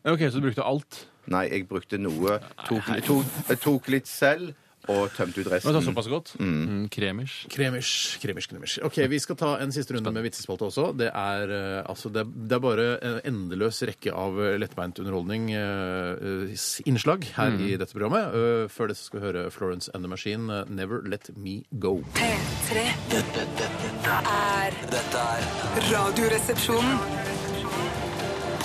S5: Ok, så du brukte alt?
S4: Nei, jeg brukte noe. Tok, tok, jeg tok litt selv og tømte ut
S5: Men det var
S4: resten.
S5: såpass godt? Mm, kremers.
S3: Kremers, kremers, kremers. Ok, Vi skal ta en siste runde med vitsespalte også. Det er, eh, altså, det, er, det er bare en endeløs rekke av eh, lettbeint underholdning, eh, eh, s- innslag, her i
S5: Mm.
S3: dette programmet. Eh, før det så skal vi høre Florence and the Machine, eh, 'Never Let Me Go'.
S6: P3
S2: Dette, dette, dette,
S6: er
S2: dette er
S6: Radioresepsjonen.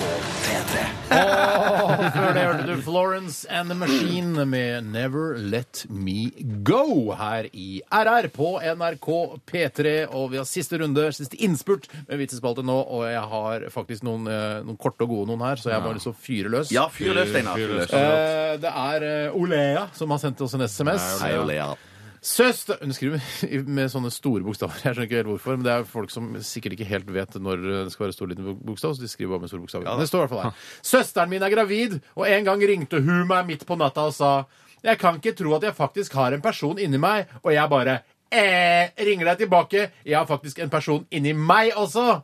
S2: P3.
S3: Før det hørte du du Florence and the Machine med Never Let Me Go her i RR på NRK P3. Og vi har siste runde, siste innspurt med vitsespalte nå, og jeg har faktisk noen, eh, noen korte og gode noen her, så jeg har bare lyst til å fyre løs.
S4: Ja, fyr løs, Steinar. Fyr løs.
S3: Eh, Det er eh, Olea som har sendt oss en SMS.
S4: Hei, Olea.
S3: Søster Hun skriver med- med sånne store bokstaver. Jeg skjønner ikke helt hvorfor, men det er folk som sikkert ikke helt vet når det skal være stor liten bokstav, så de skriver bare med store bokstaver. Men det står i hvert fall her. Søsteren min er gravid, og en gang ringte hun meg midt på natta og sa Jeg kan ikke tro at jeg faktisk har en person inni meg, og jeg bare eh, ringer deg tilbake. Jeg har faktisk en person inni meg også.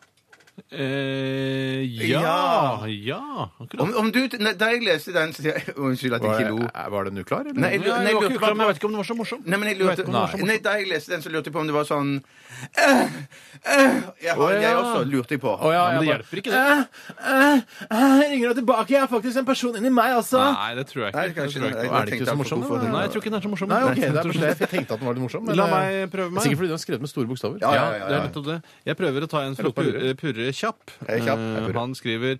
S5: Eh, ja,
S4: Ja.
S5: ja, akkurat.
S4: Om, om du, nei, da jeg leste den, så sier jeg Unnskyld at jeg ikke lo.
S3: Eh, Var, var den uklar, eller?
S4: Nei, jeg, lu-
S5: Ja,
S4: nei, jeg
S5: jeg, var ikke
S4: lurte
S5: uklar, men jeg
S4: bare
S5: vet ikke om den var så morsom.
S4: Nei, men jeg
S5: Jeg vet
S4: lurte,
S5: ikke om den var så morsom.
S4: nei, da jeg leste den, så lurte jeg på om det var sånn øh, øh, jeg, har,
S5: Å,
S4: jeg
S5: ja.
S4: også lurte jeg på.
S3: Å, ja,
S5: men det
S3: jeg bare-
S5: hjelper ikke, det.
S3: Eh, eh, jeg ringer deg tilbake. Jeg har faktisk en person inni meg også.
S5: Nei, det tror jeg ikke.
S4: Nei,
S5: Det
S4: kanskje
S5: tror jeg ikke.
S4: jeg
S3: Er det ikke
S4: tenkte
S3: så
S4: at
S3: morsom,
S4: hvorfor
S3: da?
S4: hun-
S5: Nei, jeg tror ikke den er så morsom.
S3: Nei, ok, det er
S5: Jeg tror
S3: fordi jeg tenkte at den var litt morsom. Men
S5: La
S3: eh,
S5: meg prøve
S3: det er
S5: meg.
S3: Sikkert fordi den er skrevet med store bokstaver.
S4: Ja, ja,
S5: Ja,
S4: ja,
S5: det
S4: ja.
S5: er nettopp det. Jeg prøver å ta en fra
S3: Slapp av,
S5: Purre, purre Kjapp.
S4: Jeg er kjapp.
S5: Eh,
S4: Jeg er Purre.
S5: han skriver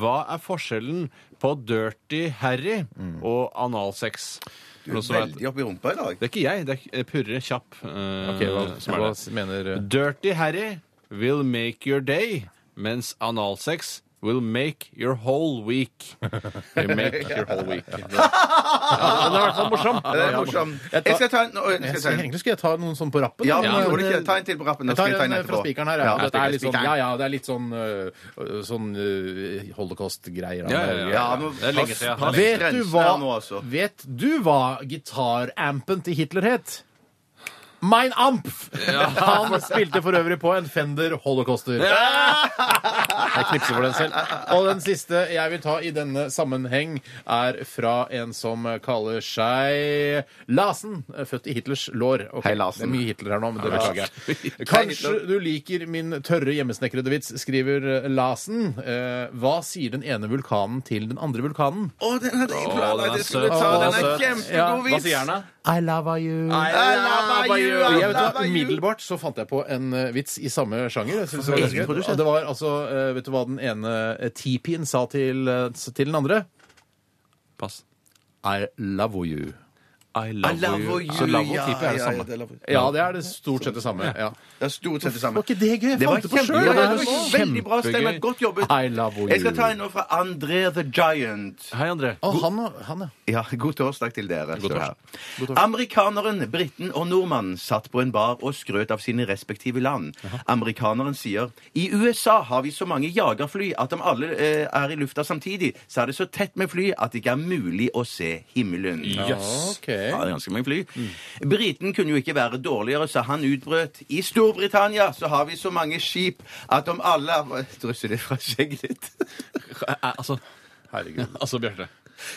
S5: Hva er forskjellen på Dirty Harry og analsex?
S4: Mm. Du er veldig oppi rumpa i dag.
S5: Det er ikke jeg, det er Purre Kjapp eh,
S3: Ok, hva,
S5: som er
S3: hva
S5: det.
S3: mener eh,
S5: Dirty Harry will make your day, mens analsex will make your whole week. Will make your whole week. Ja, den er i hvert fall morsom.
S4: Det er morsom.
S3: Jeg tar-
S4: Jeg skal ta en nå,
S3: jeg
S4: jeg skal ta
S3: skal,
S4: en.
S3: Egentlig skulle jeg ta noen sånn på rappen.
S4: Ja,
S3: da,
S4: men
S5: Ja,
S4: gjorde
S3: men,
S4: det ikke. Ta en til på rappen.
S3: jeg
S4: og
S3: tar
S4: skal ta
S3: en eh,
S4: etterpå.
S3: fra spikeren her. Ja,
S4: Ja,
S3: dette er litt sånn,
S4: spikeren.
S3: ja, ja, det er litt sånn, øh, sånn øh, holocaust-greier.
S5: Ja, ja, ja.
S4: Ja, men
S5: Det er lenge siden.
S4: pass-
S3: Vet du
S4: Grensen er nå,
S3: hva,
S4: altså.
S3: vet du hva gitarampen til Hitler het? Mein Ampf! Han spilte for øvrig på en Fender Holocauster. Jeg knipser for den selv. Og den siste jeg vil ta i denne sammenheng, er fra en som kaller seg Larsen. Født i Hitlers lår. Ok,
S4: Hei, Larsen.
S3: Det er mye Hitler her nå, men det beklager jeg.
S4: Hei,
S3: Kanskje
S4: Hitler.
S3: du liker min tørre hjemmesnekrede vits, skriver Larsen. Eh, Hva sier den ene vulkanen til den andre vulkanen?
S4: Å, den hadde jeg
S5: Å, den
S4: planlagt.
S5: er
S4: Jeg skulle
S5: søt.
S4: ta
S5: Å,
S4: den. Den
S5: søt.
S4: er kjempegod
S5: Hva sier
S4: vits.
S5: han da?
S3: I love you.
S4: love you, I
S3: Jeg vet
S4: love
S3: hva,
S4: you.
S3: Umiddelbart så fant jeg på en eh, vits i samme sjanger. Jeg synes det, var ganske
S4: Egen
S3: gøy.
S4: produsent.
S3: det var altså eh, Vet du hva den ene eh, tipien sa til, eh, til den andre?
S5: Pass.
S3: I love you.
S5: I
S4: I
S5: love,
S4: love
S5: you.
S4: you.
S5: Så love og
S4: ja,
S5: type er det
S4: ja,
S5: samme.
S4: ja, det er love you.
S3: Ja, det er det stort sett det samme. Ja.
S4: Det er stort sett det samme.
S3: Var ikke det gøy? Jeg fant det på
S4: kjempe-
S3: selv.
S4: Ja, ja, det
S3: Det var
S4: var veldig bra, Steinar.
S5: kjempegøy.
S4: Godt jobbet.
S3: I love you.
S4: Jeg skal ta en nå fra André the Giant.
S5: Hei, André.
S3: Å, han, han, ja.
S4: Ja, God torsdag til dere. står
S5: torsdag.
S4: her. Amerikaneren, briten og nordmannen satt på en bar og skrøt av sine respektive land. Amerikaneren sier i USA har vi så mange jagerfly at om alle eh, er i lufta samtidig, så er det så tett med fly at det ikke er mulig å se himmelen.
S3: Yes.
S4: Ja, det er ganske mange fly. Briten kunne jo ikke være dårligere, så han utbrøt I Storbritannia så har vi så mange skip at om alle er- Drysser det fra skjegget ditt?
S5: Eh, Altså,
S3: Herregud.
S5: altså Bjarte.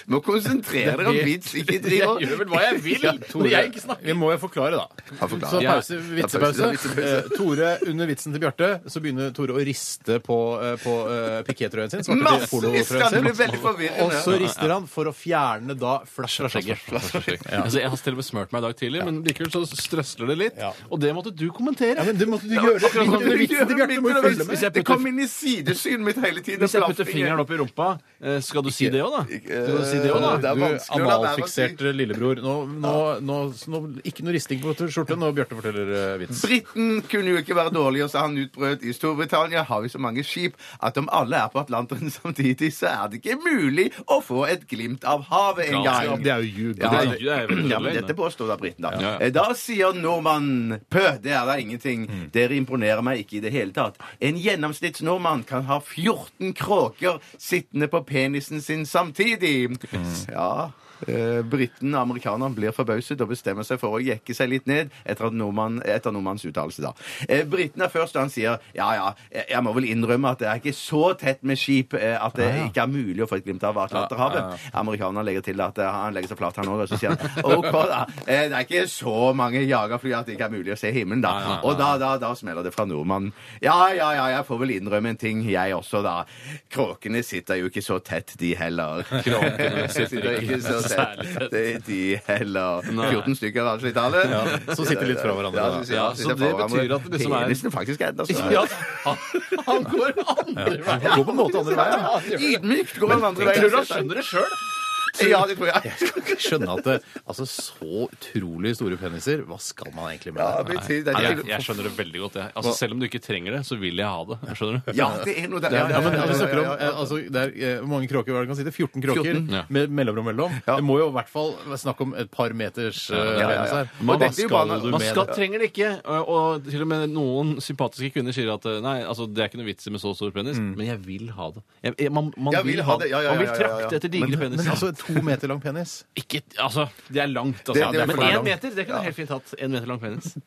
S4: Må konsentrere dere om vits, ikke driver
S3: Jeg gjør vel hva jeg vil når jeg ikke snakker. Vi må jo forklare, da.
S4: Ja, forklare.
S3: Så
S4: Ja.
S3: pause, vitsepause.
S4: Ja, vitsepause.
S3: Eh, Tore, under vitsen til Bjarte, så begynner Tore å riste på, eh, på eh, pikétrøyen sin. svarte
S4: Massevis!
S3: polotrøyen
S4: Han
S3: sin.
S4: blir veldig forvirrende.
S3: Og så rister han for å fjerne da flash fra skjegget.
S5: Altså, jeg har til og med smurt meg i dag tidlig, men likevel så strøsler det litt.
S3: Ja.
S5: Og det måtte du kommentere.
S3: Ja, men det måtte du gjøre.
S5: akkurat som
S3: Under
S5: du
S3: vitsen til Bjarte må jo
S4: Hvis
S3: følge med.
S4: jeg putter- Det kom inn i sidesynet mitt hele tiden.
S5: Hvis jeg putter fingeren opp i rumpa, eh, skal du si det òg, da? Skal du si det også,
S4: Det
S5: da?
S4: er
S3: Du
S4: vanskelig å la være å si.
S3: analfikserte lillebror. Nå, nå, nå, nå, ikke noe risting på skjorte når Bjarte forteller eh, vits.
S4: Briten kunne jo ikke være dårligere, så han utbrøt. I Storbritannia har vi så mange skip at om alle er på Atlanteren samtidig, så er det ikke mulig å få et glimt av havet engang.
S3: Det er jo
S4: Ja,
S3: ljug.
S5: Det er
S4: det-
S5: jo- det er veldig
S4: ja, men
S5: løgn,
S4: dette
S5: det.
S4: påstår da briten, da.
S5: Ja.
S4: Eh, Da sier nordmannen pø, det er da ingenting.
S5: Mm.
S4: Dere imponerer meg ikke i det hele tatt. En gjennomsnittsnordmann kan ha 14 kråker sittende på penisen sin samtidig.
S5: Mm.
S4: Ja. eh, Briten og amerikaneren blir forbauset og bestemmer seg for å jekke seg litt ned etter, at nordmann, etter nordmannens uttalelse. da. Eh, Briten er først, og han sier ja ja, jeg- jeg må vel innrømme at det er ikke så tett med skip eh, at det ikke er mulig å få et glimt av Atlanterhavet. Amerikaneren legger til at eh, han legger seg flat, han òg, og så sier han OK, da. eh, Det er ikke så mange jagerfly at det ikke er mulig å se himmelen, da. Og da, da, da smeller det fra nordmannen. Ja, ja, ja, jeg får vel innrømme en ting, jeg også, da. Kråkene sitter jo ikke så tett, de heller. Kråkene sitter ikke så tett, de heller. 14 stykker, altså, i tallet.
S3: så sitter litt fra hverandre,
S4: Ja,
S3: da.
S4: så sitter-
S5: Ja, så
S4: sitter
S5: det
S4: fra
S5: betyr
S4: hverandre.
S5: at det liksom er-
S4: Penisen faktisk er altså. enda større.
S5: Ja, han, han går andre veien.
S3: Gå på en måte andre veien.
S4: Ydmykt går han andre
S5: Jeg
S4: veien.
S5: tror han skjønner det sjøl.
S4: Ja, det tror jeg.
S3: Jeg kan ikke skjønne at det, altså Så utrolig store peniser, hva skal man egentlig med
S4: Ja,
S3: det?
S4: men
S3: Nei.
S4: til- det er-
S5: Nei, jeg, jeg skjønner det veldig godt. Jeg. Altså, selv om du ikke trenger det, så vil jeg ha det. Skjønner du?
S4: Ja, det er noe der.
S3: Ja, men
S4: ja,
S3: vi snakker om
S4: ja, ja.
S3: eh, altså, det er, eh, Hvor mange kråker var det kan sitte? 14 kråker
S4: 14,
S5: ja.
S3: med mellomrom mellom.
S4: Ja.
S3: Det må jo i hvert fall være snakk om et par meters eh,
S4: ja, ja.
S3: penis her.
S4: Og
S3: Hva
S4: dette er jo
S3: skal
S4: bare-
S3: du
S5: Man
S3: med
S5: skal
S3: det?
S5: trenger det ikke. Og, og til og med noen sympatiske kvinner sier at eh, nei, altså, det er ikke noe vits i med så stor penis,
S3: Mm.
S5: men jeg vil ha det. Jeg, jeg, man, man
S4: Jeg vil ha det. Ja, ja,
S5: man vil
S4: ja, ja, ja,
S5: trakte
S4: ja.
S5: etter digre peniser.
S3: Men altså, to meter lang penis?
S5: Ikke, altså, det er langt, altså.
S4: Det- det er
S5: men
S4: for
S5: én
S4: langt.
S5: meter, det kunne du helt fint hatt. Én meter lang penis.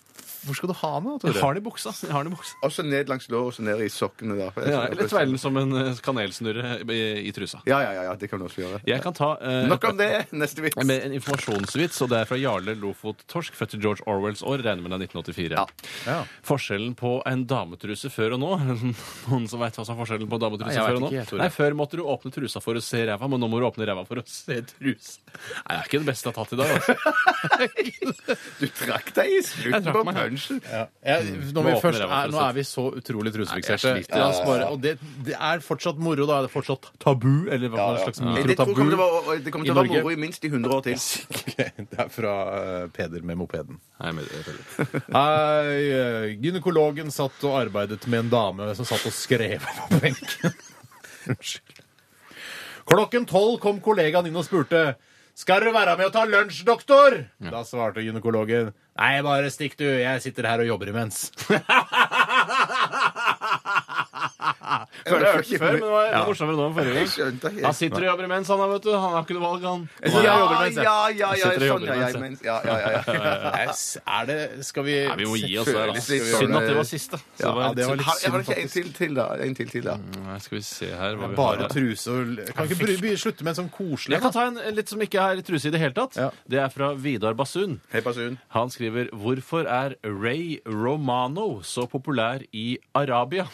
S3: Hvor skal du ha den? da,
S5: Jeg
S3: Tore?
S5: har den i buksa. Jeg har den i buksa.
S4: Og så ned langs låret og så ned i sokkene. da.
S5: Ja, eller tveile den som en eh, kanelsnurre i, i trusa.
S4: Ja, ja, ja, ja, det kan du også gjøre.
S5: Jeg kan ta eh,
S4: Nok om det. Neste vits.
S5: med en informasjonsvits, og det er fra Jarle Lofot Torsk, født i George Orwells år, regner med det er 1984.
S3: Ja.
S5: Forskjellen på en dametruse før og nå Noen som veit hva som er forskjellen på
S3: Nei,
S5: dametruse
S3: jeg
S5: før
S3: vet
S5: og nå?
S3: ikke, jeg tror det.
S5: Nei, Før måtte du åpne trusa for å se ræva, men nå må du åpne ræva for å se trusa. Nei, det er ikke det beste jeg har tatt i dag, altså.
S4: Du trakk deg i
S5: Jeg
S4: slutten
S5: trakk
S4: på
S5: meg.
S4: punsjen.
S3: Ja. Jeg, når vi
S5: Nå åpner
S3: først
S5: jeg
S3: er,
S5: meg for å
S3: nå
S5: sette-
S3: er vi så utrolig trusefikserte.
S5: Nei, jeg sliter.
S3: La oss bare- Og det, det er fortsatt moro, da. Er det fortsatt tabu? Eller hva slags
S4: Det tror jeg
S3: mikrotabu?
S4: kommer til å være- det kommer til
S3: I
S4: å være
S3: Norge.
S4: moro i minst i 100 år til.
S3: Det er fra eh, Peder med mopeden.
S5: Nei, men, det er veldig-
S3: Hei, eh, gynekologen satt og arbeidet med en dame som satt og skrev på benken. Unnskyld. Klokken tolv kom kollegaen inn og spurte skal du være med og ta lunsj, doktor? Da svarte gynekologen Nei, bare stikk, du. Jeg sitter her og jobber imens.
S4: Før,
S5: Det har jeg hørt før, men Altså, det var, det var morsommere nå enn forrige
S4: Jeg
S5: gang.
S4: skjønte helt.
S5: Han sitter og jobber imens, han da, vet du. Han har ikke noe valg, han.
S4: Ja, ja,
S3: jobber imens, jeg.
S4: ja, ja,
S5: Jeg
S4: ja,
S5: sitter og
S4: sånn,
S5: jobber
S4: ja, ja,
S5: imens, jeg.
S4: imens. ja, ja, ja, ja.
S3: Er er det Skal vi
S5: Nei, vi må gi oss der, altså.
S4: Føles litt
S5: Synd at
S4: sånn,
S5: det
S4: eh,
S5: var siste. Så det var
S3: ja, det var
S5: litt
S4: Har, jeg har
S5: synd.
S4: ikke en til til, da. En til til, da.
S5: Nei, Skal vi se her hva vi
S3: Bare
S5: har her.
S3: truse og Kan ikke bry- bry- slutte med en sånn koselig
S5: Jeg kan ta en en litt som ikke er truse i det hele tatt.
S3: Ja.
S5: Det er fra Vidar Basun.
S4: Hei, Basun.
S5: Han skriver Hvorfor er Ray Romano så populær i Arabia?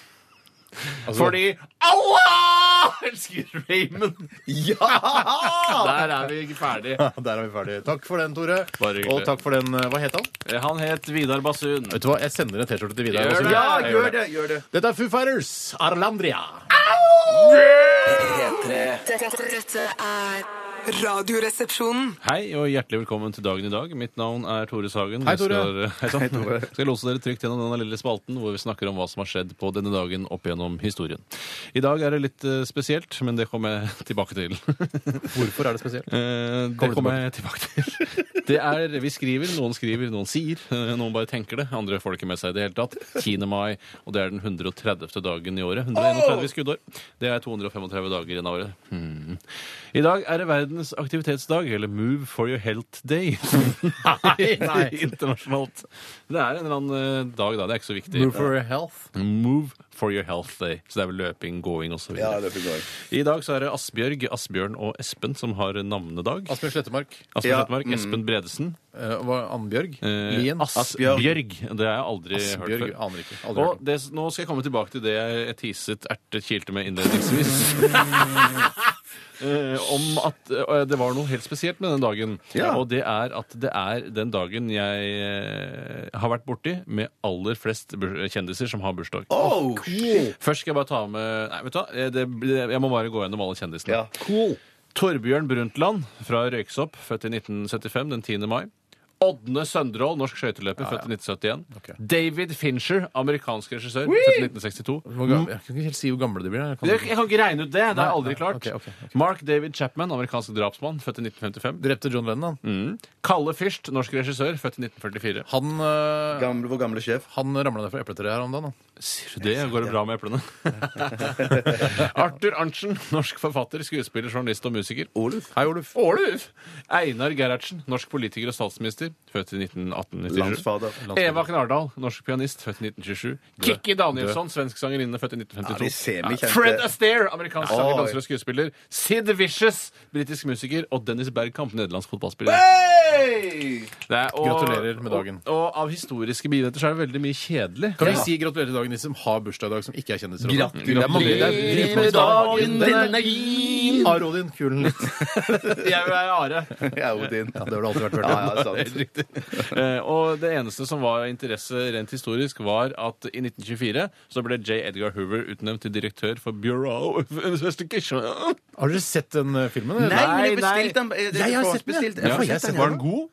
S3: Altså-
S5: Fordi Allah elsker Raymond!
S4: Ja!
S5: Der er vi ikke ferdig.
S3: da? Der er vi ferdige. Takk for den, Tore.
S5: Bare hyggelig.
S3: Og takk for den eh, Hva het han?
S5: Eh, Han het Vidar Basun.
S3: Vet du hva, Jeg sender en T-skjorte til Vidar.
S5: Gjør
S3: også.
S5: det.
S4: Ja,
S3: Jeg
S4: gjør det, gjør det.
S3: Dette er Foo Fighters, Arlandria.
S6: Dette, dette er Radioresepsjonen.
S5: Hei og hjertelig velkommen til dagen i dag. Mitt navn er Tore Sagen.
S3: Hei,
S5: Jeg
S3: Tore.
S5: Skal, hei, sann. skal lose dere trygt gjennom denne lille spalten hvor vi snakker om hva som har skjedd på denne dagen opp gjennom historien. I dag er det litt eh, spesielt, men det kommer jeg tilbake til.
S3: Hvorfor er det spesielt?
S5: Eh, det
S3: Kommer
S5: kommer jeg tilbake til. Det er, Vi skriver, noen skriver, noen sier. eh, Noen bare tenker det. Andre får det ikke med seg i det hele tatt. 10. mai, og det er den 130. dagen i året. 131 skuddår. Det er 235 dager igjen av året. Hmm. I dag er det verdens aktivitetsdag, eller Move for your health day.
S3: Nei, nei.
S5: Internasjonalt. Det er en eller annen eh, dag, da. Det er ikke så viktig.
S3: Move for health.
S5: Move for your health day. Så det er vel løping, gåing osv.
S4: Ja,
S5: videre
S4: det fikk jeg.
S5: I dag så er det Asbjørg, Asbjørn og Espen som har navnedag.
S3: Asbjørn Slettemark.
S5: Asbjørn
S4: Ja,
S5: Slettemark, Espen Bredesen.
S3: Uh, Annbjørg?
S5: eh,
S3: mm. Lien?
S5: Asbjørg. Det har jeg aldri
S3: Asbjørg?
S5: hørt før.
S3: Aner ikke. Aldri hørt
S5: Og
S3: om.
S5: det, nå skal jeg komme tilbake til det jeg teaset ertekilte med innledningsvis. Eh, om at eh, det var noe helt spesielt med den dagen.
S4: Ja.
S5: Og det er at det er den dagen jeg eh, har vært borti med aller flest bur- kjendiser som har bursdag.
S4: Oh, shit.
S5: Først skal jeg bare ta med Nei, vet du hva? Eh, Det, jeg må bare gå gjennom alle kjendisene.
S4: Ja.
S3: Cool.
S5: Torbjørn Brundtland fra Røyksopp, født i 1975, den 10. mai. Ådne Søndrål, norsk skøyteløper, født i 1971.
S3: Ok.
S5: David Fincher, amerikansk regissør, født i 1962.
S3: Hvor ga- Jeg kan ikke helt si hvor gamle de blir. Jeg kan
S5: Jeg, jeg kan ikke regne ut det! Det er aldri
S3: nei,
S5: klart.
S3: ok, ok, ok.
S5: Mark David Chapman, amerikansk drapsmann, født i 1955.
S3: Drepte John Lennon.
S5: Mm.
S3: han.
S5: Kalle Fyrst, norsk regissør, født i 1944.
S3: Han, uh,
S4: Gamle, vår gamle sjef.
S3: han ramla ned fra epletreet her om dagen. han.
S5: Sier du det? Går det bra med eplene? Arthur Arntzen, norsk forfatter, skuespiller, journalist og musiker.
S4: Oluf.
S3: Hei, Oluf.
S5: Åluf! Einar Gerhardsen, norsk politiker og statsminister, født i 1918-1997.
S4: Landsfader.
S5: Eva Knardal, norsk pianist, født i 1927. Kikki Danielsson, svensk sangerinne, født i
S4: Ja, de ser vi
S5: 1952.
S4: kjente.
S5: Fred Astaire, amerikansk sanger,
S4: Oi.
S5: danser og skuespiller. Sid Vicious, britisk musiker. Og Dennis Bergkamp, nederlandsk fotballspiller.
S4: Hey! Hey!
S5: Det er- og-
S3: Gratulerer med dagen.
S5: Og, og av historiske begivenheter så er det veldig mye kjedelig.
S3: Kan vi si gratulerer til dagen de som har bursdag i dag, som ikke er kjendiser? også? Det er mange- det er
S5: Gratulerer
S3: dritmange
S5: med
S3: som har-
S5: dagen, den er fin!
S3: Are Odin, kulen litt.
S5: Jeg vil være Are.
S4: Jeg er Odin.
S3: Ja, det har det alltid vært.
S4: Ja,
S3: Bjarte.
S4: ja, sant.
S5: Eh, og det eneste som var av interesse rent historisk, var at i 1924 så ble J. Edgar Hoover utnevnt til direktør for Bureau of Investigation.
S3: Har dere sett den eh, filmen? eller?
S4: Nei, men
S5: Nei,
S4: jeg
S5: nei.
S4: bestilte den. eh,
S3: Jeg har sett den,
S4: forhåndsbestilt.
S3: ja.
S4: Jeg får
S3: Ja, jeg
S4: sett den,
S3: har
S5: Var den god?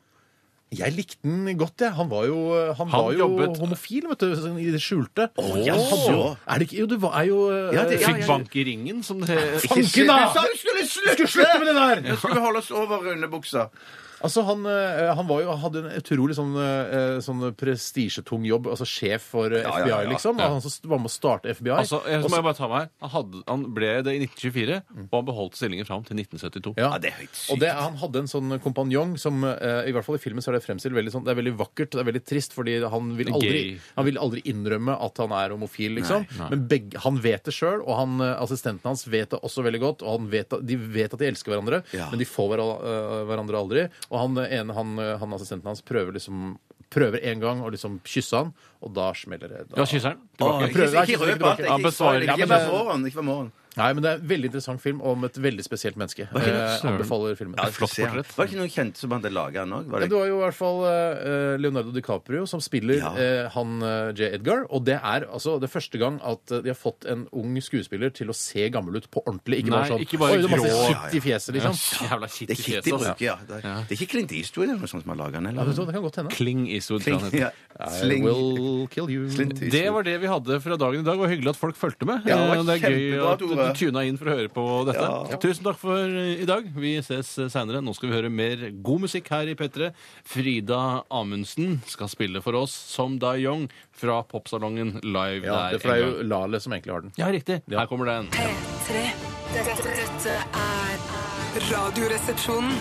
S3: Jeg likte den godt, jeg. Han var jo, eh, han var jo
S5: jobbet-
S3: homofil, vet du, sånn i det skjulte.
S4: ja,
S3: Han hadde jo,
S4: så.
S3: er det ikke, jo, det var er jo eh,
S4: Ja, det- ja,
S5: Fikk bank i ringen, som det
S3: Fanken, da!
S4: Jeg sa du skulle slutte!
S3: Du slutter med det der!
S4: Nå skal vi holde oss over underbuksa.
S3: Altså, han, eh, han var jo, han hadde en utrolig sånn, eh, sånn prestisjetung jobb, altså sjef for eh,
S4: Ja,
S3: FBI,
S4: ja, ja.
S3: liksom.
S5: Ja.
S3: Han som var med å starte FBI.
S5: Altså, jeg,
S3: Og
S5: så må
S3: så-
S5: jeg bare ta meg her. Han, hadde, han ble det i 1924, og han beholdt stillingen fram til 1972.
S3: ja.
S4: Ja, det er høyt sykt.
S3: Og det, han hadde en sånn kompanjong som eh, i hvert fall i filmen så er det fremstilt veldig sånn, det er veldig vakkert, det er veldig trist, fordi han vil aldri,
S5: Gay.
S3: han vil aldri innrømme at han er homofil, liksom.
S5: Nei, nei.
S3: Men begge, han vet det sjøl, og han, eh, assistenten hans vet det også veldig godt. og han vet, at- De vet at de elsker hverandre,
S4: Ja.
S3: men de får hver, eh, hverandre aldri. Og han eh, ene, han, eh, han assistenten hans prøver liksom prøver en gang å liksom kysse han, og da smeller det. Da.
S5: Ja, kysser han.
S4: Åh,
S5: Tilbake.
S4: Ikke ikke røp alt.
S5: Ja,
S4: Ikke
S5: besvar.
S4: ikke-
S5: Ja,
S4: ikke
S5: men-
S4: vær morgen. Ikke vær morgen.
S3: Nei, men det er en veldig interessant film om et veldig spesielt menneske. Eh,
S5: søren.
S3: anbefaler filmen.
S4: Ja, jeg skal
S5: flott
S4: se han.
S5: portrett.
S4: Var det ikke noen kjente som hadde laga den òg?
S3: Ja, du har jo i hvert fall eh, Leonardo DiCaprio som spiller
S4: Ja.
S3: eh, han eh, J. Edgar. Og det er altså det er første gang at eh, de har fått en ung skuespiller til å se gammel ut på ordentlig. Ikke
S5: Nei,
S3: bare sånn
S5: ikke bare
S3: Oi, det er masse
S5: grå».
S3: skitt i fjeset,
S5: Ja,
S3: liksom.
S5: Jævla kitt
S4: Det
S5: i
S4: er
S5: fjeset.
S4: Kitty
S5: altså.
S4: Bruke, Dus ja. Det er, det er ikke Clint Eastwood eller noe sånt som har laga den?
S3: Ja,
S4: Eller?
S3: vet du hva, det kan godt hende.
S5: Kling Eastwood. tror jeg han heter.
S4: Ja, Sling.
S3: I will kill you.
S4: Clint Eastwood.
S5: Det var det vi hadde fra dagen i dag. og Hyggelig at folk fulgte med.
S4: Ja, det var
S5: Eh, og det er gøy
S4: kjempebra,
S5: at du
S4: Tore.
S5: tuna inn for å høre på dette. Tusen takk for eh, i dag. Vi ses eh, senere. Nå skal vi høre mer god musikk her i P3. Frida Amundsen skal spille for oss som Da Young fra popsalongen live
S3: Ja,
S5: der.
S3: det for det er
S5: en
S3: jo
S5: gang.
S3: Lale som egentlig har den.
S5: ja, riktig. Her kommer den.
S6: P3. Dette, dette er Radioresepsjonen.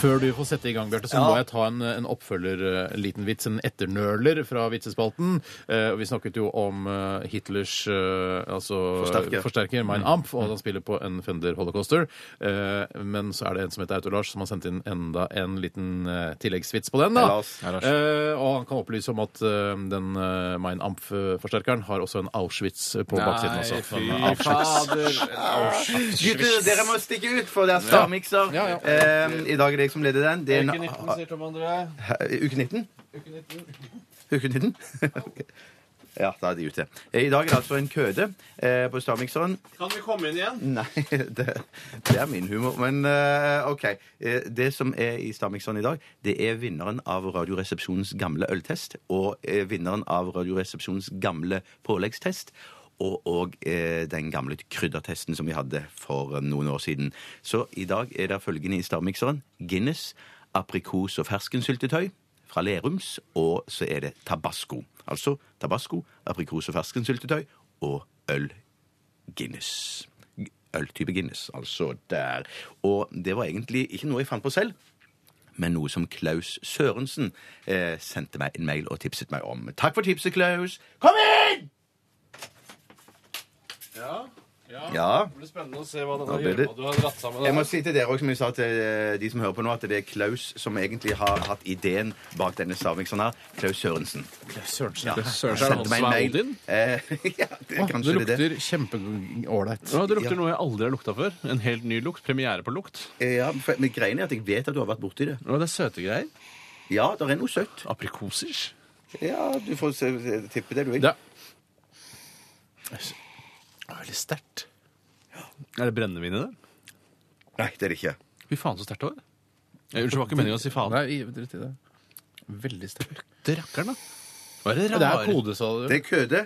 S3: Før du får sette i gang, Bjarte, så må jeg ta en, en oppfølger, eh, en liten vits, en etternøler fra vitsespalten. Eh, og vi snakket jo om eh, Hitlers eh, altså,
S4: Forsterker. Mm.
S3: forsterker, Mein Amp, og at han spiller på en Fender Holocauster. Eh, men så er det en som heter Autolars, som har sendt inn enda en liten eh, tilleggsvits på den. da.
S4: Hei, Lars.
S5: Lars.
S3: Eh, og han kan opplyse om at eh, den eh, Mein Amp-forsterkeren har også en Auschwitz eh, på baksiden. også. Den eh, Auschwitz.
S4: Gutter, dere må stikke ut, for det er stavmikser.
S3: Ja, ja.
S4: Ehm, I dag er det jeg som leder den. Det er en, Hæ, uke 19? Uke 19? Ok. Ja, da er de ute. Eh, I dag er det altså en køde eh, på stavmikseren.
S5: Kan vi komme inn igjen?
S4: Nei, det, det er min humor. Men eh, OK. Eh, det som er i Stamikson i dag, det er vinneren av Radioresepsjonens gamle øltest. Og eh, vinneren av Radioresepsjonens gamle påleggstest. Og, og eh, den gamle kryddertesten som vi hadde for eh, noen år siden. Så i dag er det følgende i stavmikseren. Guinness, aprikos- og ferskensyltetøy fra Lerums. Og så er det tabasco. Altså tabasco, aprikos- og ferskensyltetøy og øl Guinness. Øltype Guinness, altså der. Og det var egentlig ikke noe jeg fant på selv. Men noe som Klaus Sørensen eh, sendte meg en mail og tipset meg om. Takk for tipset, Klaus! Kom inn! Ja,
S5: Det blir spennende å se hva
S4: Da blir det-
S5: du har dratt sammen.
S4: Jeg må si til dere også, som jeg sa til eh, de som hører på nå, at det er Klaus som egentlig har hatt ideen bak denne stavmikseren her. Klaus Sørensen.
S3: Sørensen. Ja.
S5: Søren, så er det han som er Odin?
S4: Eh, ja, det, er
S3: Det
S4: kanskje det, er det.
S3: lukter kjempeålreit.
S5: Ja, det lukter noe jeg aldri har lukta før. En helt ny lukt. Premiere på lukt.
S4: Eh, Ja, for- men greien er at jeg vet at du har vært borti det.
S5: Å, det er søte greier.
S4: Ja, det er noe søtt.
S5: Aprikoser.
S4: Ja, du får se- se- tippe det du vil.
S3: Det er veldig sterkt.
S5: Er det brennevin i det?
S4: Nei, det er det ikke.
S5: Fy faen, så sterkt det var. Eh, Unnskyld, det var ikke meningen å si faen.
S3: Nei, i- drit i det. Veldig sterkt.
S5: Det rakkeren, da. Hva er det
S3: Det er
S5: rare?
S3: kode, sa du.
S4: Det er køde.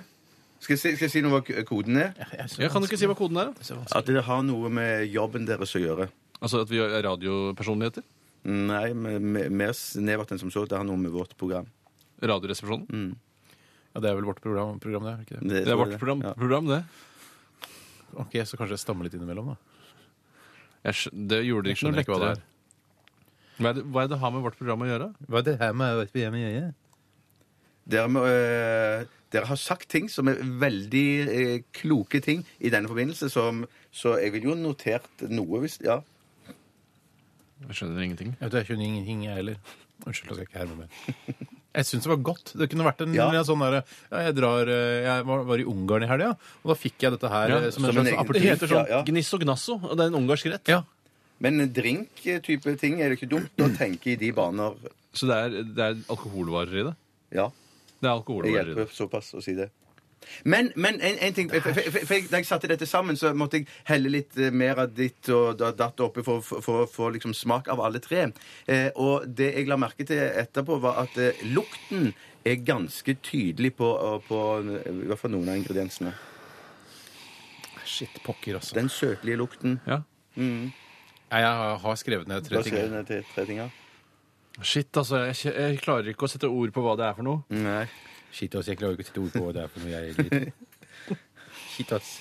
S4: Skal jeg, si, skal jeg si noe hva k- koden er?
S5: Jeg kan du ikke si hva koden er. da?
S4: At det har noe med jobben deres å gjøre.
S5: Altså at vi er radiopersonligheter.
S4: Nei, men me- mer snevert enn som så. Det har noe med vårt program.
S5: Radioresepsjonen.
S3: Ja, det er vel vårt program, program det er ikke det?
S5: Det er vårt program,
S4: Ja.
S5: program det.
S3: Ok, så kanskje jeg stammer litt innimellom, da.
S5: Jeg, skj- det gjorde det
S3: Jeg
S5: ikke noe
S3: skjønner ikke hva
S5: lettere.
S3: det er.
S5: Hva er det, hva er det har med vårt program å gjøre?
S3: Hva er det her med vet vi hjemme i øyet?
S4: Dere, må, eh, dere har sagt ting som er veldig eh, kloke ting i denne forbindelse, som, så jeg vil jo ha notert noe hvis Ja.
S5: Jeg skjønner ingenting.
S3: Jeg vet ikke, jeg skjønner ingenting, jeg heller. Unnskyld, jeg skal ikke herme mer. Jeg syns det var godt. Det kunne vært en
S8: Ja.
S3: sånn derre ja, Jeg, drar, eh, jeg var, var i Ungarn i helga, og da fikk jeg dette her
S5: Ja,
S3: eh, som, en
S8: som en
S3: slags
S8: egen
S3: aperitiff.
S5: Det heter sånn
S8: Ja, ja.
S5: gnisso gnasso, og det er en ungarsk rett.
S3: Ja.
S8: Men drink-type ting er det ikke dumt å tenke i de baner.
S5: Så det er, det er alkoholvarer i det.
S8: Ja,
S5: Det er
S8: det
S5: alkoholvarer i det.
S8: hjelper såpass å si det. Men, men en, en ting for, for, for, for, Da jeg satte dette sammen, så måtte jeg helle litt eh, mer av ditt og da- datt oppi for for- for å få liksom smak av alle tre. Eh, og det jeg la merke til etterpå, var at eh, lukten er ganske tydelig på, på eh, i hvert fall noen av ingrediensene.
S3: Shit pokker, altså.
S8: Den søtlige lukten.
S5: Ja.
S3: Nei, Jeg har- har skrevet ned tre
S8: Da ser
S3: ting.
S8: jeg ned til tre ting her.
S5: Shit, altså. Jeg, kje- jeg klarer ikke å sette ord på hva det er for noe.
S3: Mm.
S8: Nei.
S3: Shit, ass. Jeg klarer ikke å sette ord på hva det er for noe jeg er litt Shit, ass.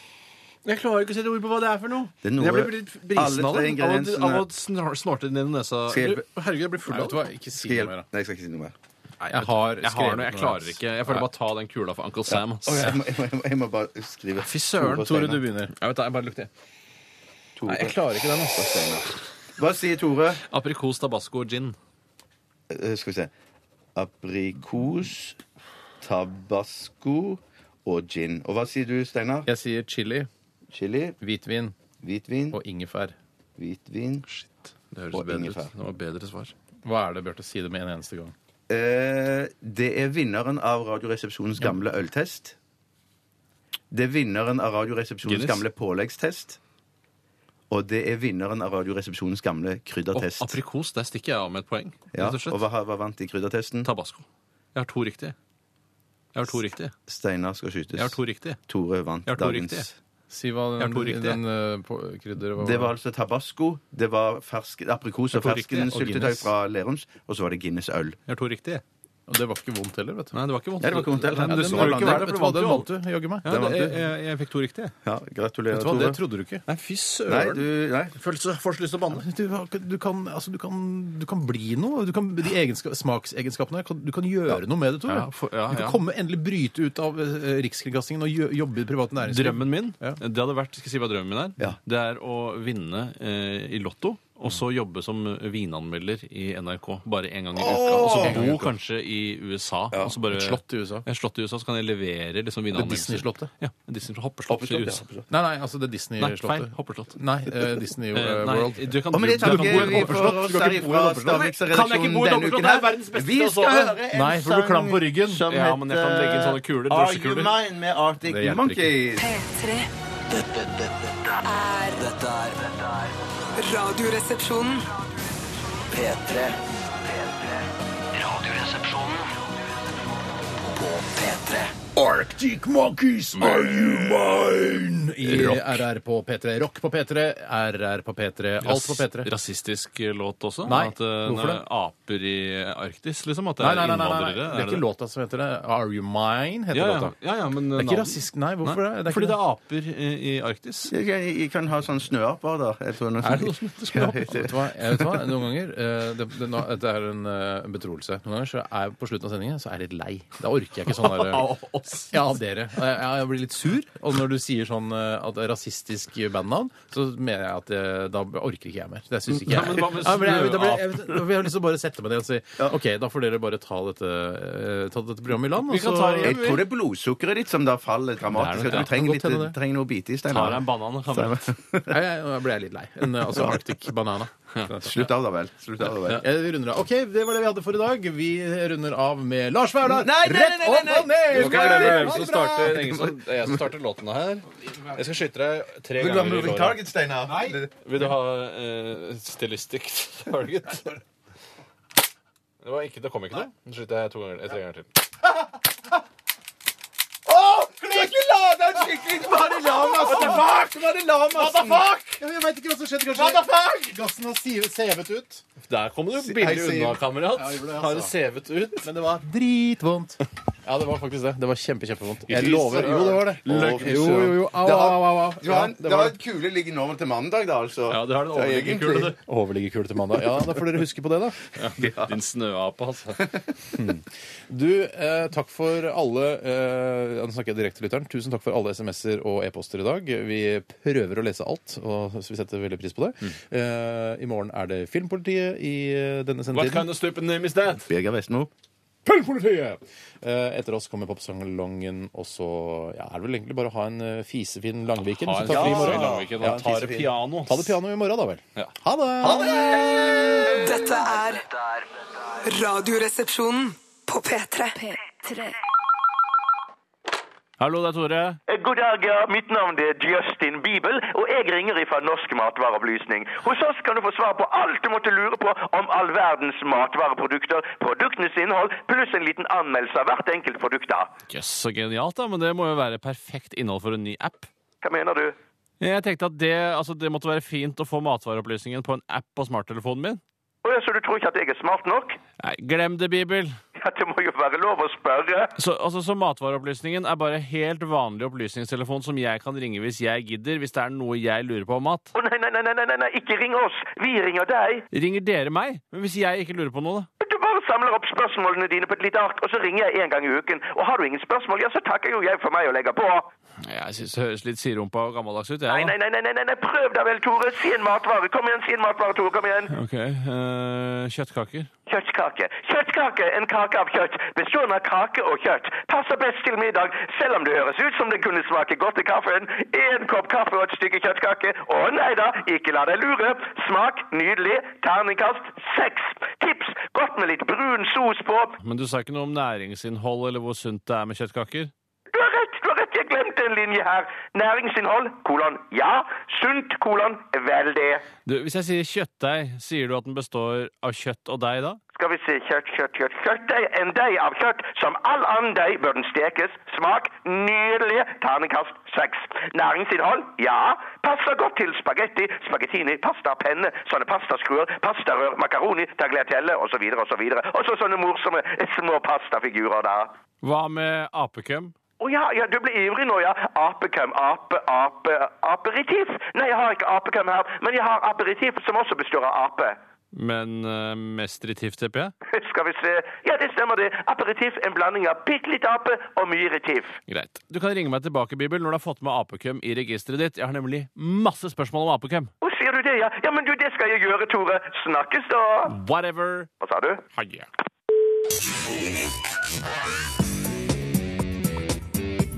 S5: Jeg klarer ikke å sette ord på hva det er for noe.
S8: Det er noe-
S5: jeg blir litt brisen
S8: alle
S5: av
S8: tre
S5: det. Av å-
S8: ingrediensene-
S5: Av å snor- snorte det ned i nesa.
S8: Skal jeg-
S5: Du, Herregud, jeg blir full
S3: Nei,
S5: av
S3: vet du
S5: det.
S3: hva, ikke si
S8: Skal
S3: noe
S8: jeg
S3: mer.
S8: hjelpe?
S3: da.
S8: Nei, jeg skal ikke si noe mer.
S3: Jeg har
S5: Jeg har noe, jeg klarer
S3: ass.
S5: ikke. Jeg føler bare ta den kula for Uncle Sam. ass.
S8: Å, jeg, må, jeg, må, jeg, må, jeg må bare skrive
S5: Fy søren,
S3: Tore, du begynner.
S5: Jeg vet da, jeg bare lukter.
S8: Tore.
S5: Nei, jeg klarer ikke den. altså. ass.
S8: Hva sier Tore?
S5: Aprikos, tabasco og gin.
S8: Eh, skal vi se. Aprikos, tabasco og gin. Og hva sier du, Steinar?
S3: Jeg sier chili,
S8: Chili,
S3: hvitvin
S8: hvitvin,
S3: og ingefær.
S8: hvitvin
S5: Shit, det
S8: Og
S5: høres bedre
S8: ingefær.
S5: ut. Det var bedre svar.
S3: Hva er det, Bjarte? Si det med en eneste gang.
S8: eh, Det er vinneren av Radioresepsjonens gamle øltest. Det er vinneren av Radioresepsjonens
S5: Guinness?
S8: gamle påleggstest. Og det er vinneren av Radioresepsjonens gamle
S5: Og
S8: kryddertest.
S5: aprikos, der stikker jeg av med et poeng.
S8: ja.
S5: rett og
S8: Og
S5: slett.
S8: hva, hva vant i kryddertesten?
S5: Tabasco. Jeg har to riktige. Jeg har to riktige.
S8: Steinar skal skytes.
S5: Jeg har to riktige.
S8: Tore vant
S5: Jeg har to
S8: dagens.
S5: riktige.
S3: Si hva
S5: Jeg har
S3: den,
S5: to riktige.
S3: den eh, på- krydderet var.
S8: Det var altså tabasco, det var fersk, aprikos og
S5: Jeg tror riktig,
S8: fersken
S5: og
S8: syltetøy
S3: Guinness.
S8: fra Lerums, og så var det Guinness øl.
S5: Jeg har to riktige.
S3: Og det var ikke vondt heller, vet du.
S5: Nei, det var ikke vondt.
S8: Nei, det var ikke vondt
S5: Nei,
S8: heller.
S5: men
S8: Ja,
S5: det
S8: den
S5: skulle
S8: var
S5: ikke
S8: blandet.
S5: være det, for du vant
S3: den
S5: jo alt.
S3: vant du, jaggu meg.
S5: Ja,
S3: Vet
S5: det,
S8: vant du.
S5: jeg, jeg, jeg fikk to riktige.
S8: Ja,
S3: du
S8: gratulerer,
S3: hva,
S8: Tore.
S3: det trodde du ikke.
S5: Nei, fy
S8: Nei,
S5: søren.
S8: du, nei.
S5: Følelse først lyst til å banne.
S3: Du, har ikke- du, kan, altså, du, kan, du kan bli noe. Du kan, de egenska, smaksegenskapene her, kan, du kan gjøre noe med det, Tore.
S5: Ja, for- ja,
S3: du kan
S5: ja.
S3: komme endelig bryte ut av eh, Rikskringkastingen og gjø- jobbe i det private næringslivet.
S5: Drømmen min
S3: Ja.
S5: det hadde vært, skal jeg si hva drømmen min er,
S8: Ja.
S5: det er å vinne eh, i Lotto. Og så jobbe som vinanmelder i NRK bare én gang i uka. Og så bo kanskje i USA. Og så bare,
S3: Et slott i USA.
S5: Et slott i USA, Så kan jeg levere liksom vinanmeldelser.
S3: Disney-slottet.
S5: Ja, Disney Hoppeslott i USA.
S3: Nei, nei, altså det
S5: Nei, feil.
S3: Disney-slottet.
S5: Hoppeslott.
S3: Nei, eh, Disney
S5: Eh, nei,
S3: World.
S5: du kan,
S8: Og med det
S5: du- du kan bo i
S8: takker vi
S5: Hoppeslott.
S8: for oss her fra
S5: Kan jeg ikke
S8: Stavmiksredaksjonen
S5: bo i
S8: denne
S5: Hoppeslott?
S8: uken.
S5: Det er
S8: her.
S5: verdens beste
S8: Vi
S5: å
S8: skal
S5: sove.
S8: høre en
S3: Nei, for du
S8: sang
S3: klamper ryggen.
S8: som
S5: Ja, men jeg kan legge inn
S8: heter
S5: sånne kuler,
S8: Are You
S5: drosjekuler.
S8: Mine med Arctic
S3: Det hjelper
S8: Monkeys.
S6: P3.
S2: Dette, dette, dette er Dette er dette er
S6: Radioresepsjonen.
S2: P3. P3. Radioresepsjonen på P3.
S3: Arctic Monkeys, are you mine? I RR på P3. Rock på P3, RR på P3, alt på P3.
S5: Rasistisk låt også?
S3: Nei,
S5: At eh,
S3: hvorfor det?
S5: aper i Arktis, liksom? At det
S3: Nei,
S5: er
S3: nei, nei, nei, nei.
S5: innvandrere?
S3: Det er ikke låta som heter det. Are You Mine heter
S5: Ja, ja,
S3: låta.
S5: ja, ja, men
S3: Det er ikke rasist, nei. Hvorfor det? det? er
S5: Fordi
S3: ikke
S5: det er aper eh, i Arktis.
S8: Jeg, jeg, jeg kan ha sånn snøaper, da. Er det
S4: sånn-
S5: noe som heter snøaper?
S3: Vet du hva? Jeg vet hva? Noen ganger eh, det, det, nå- Dette er en eh, betroelse. Noen ganger så er jeg på slutten av sendingen så er jeg litt lei. Da orker jeg ikke sånn der
S5: Av oss.
S3: Ja, av dere. Og Jeg, jeg blir litt sur. Og når du sier sånn eh, at det er rasistisk bandnavn, så mener jeg at eh, da orker ikke jeg mer. Det syns ikke
S5: Ja,
S3: jeg.
S5: men hva med
S3: Ja, men jeg, da blir- jeg, vet- da vil jeg har lyst til å bare sette meg ned og si OK, da får dere bare ta dette, eh, ta dette programmet i land. og
S5: Vi kan
S3: så-
S5: ta det
S8: Jeg tror det er blodsukkeret ditt som da faller dramatisk.
S5: Det er det,
S8: Du
S5: ja.
S8: trenger,
S3: Det
S8: litt,
S3: kan godt hende det.
S8: du trenger noe å bite i,
S5: Tar deg
S8: Steinar.
S5: en banan, kamerat.
S3: Nei, jeg- Nå ble jeg litt lei. En, eh, altså Arctic Banana.
S8: Slutt av, da vel. Slutt av, da vel.
S3: Ja, vi runder av. OK, det var det vi hadde for i dag. Vi runder av med Lars Vaular.
S8: Nei, nei, nei, nei, nei,
S3: Rett
S8: nei.
S3: opp og ned!
S5: Du skal glemme
S3: Ha
S5: hvem
S3: det
S5: som
S3: bra!
S5: starter, ingen som, det er jeg som starter låtene her. Jeg skal skyte deg tre
S8: Vil du ha
S5: ganger i
S8: Moving
S5: låret.
S8: Target, Steinar? Nei.
S5: Vil du ha uh, stilistic target? Det, var ikke, det kom ikke noe. Nå skyter jeg to ganger, eh, tre ganger til.
S8: Ikke la den skikkelig altså. Bare la massen Fuck! Bare la massen
S3: Jeg vet ikke hva som skjedde. Kanskje gassen har siv- sevet ut.
S5: Der kom du
S8: I
S5: billig
S8: see.
S5: unna, kamerat.
S3: gjorde det, altså.
S5: Har det sevet ut?
S3: Men det var dritvondt. Ja, det var faktisk det. Det var kjempe, kjempevondt.
S4: Fy
S3: Jeg lover.
S4: søren.
S3: Jo, det var det.
S4: Å,
S3: Løgn.
S4: fy
S3: Jo,
S4: søren.
S3: jo, jo. Au,
S4: Det har-
S3: au, au, au.
S4: Du har,
S3: Ja,
S4: det
S3: var
S4: har et kule liggende over til mandag, da, altså.
S5: Ja, du har den
S4: Det er egentlig-
S5: overliggerkule, du.
S3: Overliggerkule til mandag. Ja, da får dere huske på det, da.
S5: Din snøape, altså.
S3: Du, eh, takk for alle eh, ja, Nå snakker jeg direkte til lytteren. Tusen takk for alle SMS-er og e-poster i dag. Vi prøver å lese alt, og så vi setter veldig pris på det. Eh, I morgen er det Filmpolitiet i eh, denne
S5: What
S3: sendetiden.
S5: kind of stupid name is that?
S4: Birger Vestmo.
S3: Filmpolitiet! Eh, etter oss kommer popsalongen, og så ja, er det vel egentlig bare å ha en eh, fisefin Langviken.
S5: Ha
S3: som
S5: en
S3: tar fri i morgen.
S5: Langviken,
S3: Ja,
S5: og ta det piano.
S3: Ta det piano i morgen, da vel.
S5: Ja.
S3: Ha det!
S9: Dette er Radioresepsjonen på P3.
S5: Hallo, det er Tore.
S7: Eh, God dag, ja. Mitt navn er Justin Bibel, og jeg ringer ifra Norsk matvareopplysning. Hos oss kan du få svar på alt du måtte lure på om all verdens matvareprodukter, produktenes innhold, pluss en liten anmeldelse av hvert enkelt produkt. da.
S5: Jøss, så genialt, da. Men det må jo være perfekt innhold for en ny app.
S7: Hva mener du?
S5: Jeg tenkte at det, altså, det måtte være fint å få matvareopplysningen på en app på smarttelefonen min.
S7: Å ja, Så du tror ikke at jeg er smart nok?
S5: Nei, glem det, Bibel.
S7: Ja, Det må jo være lov å spørre.
S5: Så, altså, så matvareopplysningen er bare helt vanlig opplysningstelefon som jeg kan ringe hvis jeg gidder, hvis det er noe jeg lurer på om mat.
S7: Å nei, nei, nei, nei, nei, nei, nei, ikke ring oss. Vi ringer deg.
S5: Ringer dere meg? Men hvis jeg ikke lurer på noe, da?
S7: Du bare samler opp spørsmålene dine på et lite ark, og så ringer jeg en gang i uken. Og har du ingen spørsmål, ja, så takker jo jeg for meg og legger på.
S5: Jeg syns det høres litt siderumpa og gammeldags ut, jeg.
S7: Nei,
S5: da.
S7: nei, nei, nei, nei, nei, prøv deg vel, Tore. Si en matvare. Kom igjen, si en matvare, Tore. Kom igjen.
S5: Ok, eh, kjøttkaker.
S7: Kjøttkake. Kjøttkake! En kake av kjøtt. Bestående av kake og kjøtt. Passer best til middag, selv om det høres ut som den kunne smake godt i kaffen. En kopp kaffe og et stykke kjøttkake. Å nei da, ikke la deg lure. Smak nydelig. Terningkast seks. Tips godt med litt brun sos på.
S5: Men du sa ikke noe om næringsinnhold eller hvor sunt det er med kjøttkaker?
S7: Du har rett, du har rett, jeg glemte en linje her. Næringsinnhold, kolon, ja. Sunt, kolon, vel det.
S5: Du, hvis jeg sier kjøttdeig, sier du at den består av kjøtt og deig da?
S7: Skal vi se, kjøtt, kjøtt, kjøtt, kjøttdeig. En deig av kjøtt. Som all annen deig bør den stekes. Smak nydelig. Ternekast seks. Næringsinnhold, ja. Passer godt til spagetti, spagettini, pasta, penne, sånne pastaskruer, pastarør, makaroni, tagliatelle osv. osv. Og så sånne morsomme små pastafigurer der.
S5: Hva med apekøm?
S7: Å ja, ja, du ble ivrig nå, ja. Apekøm, ape, ape, aperitif. Nei, jeg har ikke apekøm her, men jeg har aperitif som også består av ape.
S5: Men uh, mest retiv, tipper jeg?
S7: Skal vi se. Ja, det stemmer det. Aperitif, en blanding av bitte litt ape og mye retif.
S5: Greit. Du kan ringe meg tilbake, Bibel, når du har fått med apekøm i registeret ditt. Jeg har nemlig masse spørsmål om apekøm.
S7: Å, sier du det, ja? Ja, men du, det skal jeg gjøre, Tore. Snakkes da.
S5: Whatever.
S7: Hva sa du?
S5: Ha det.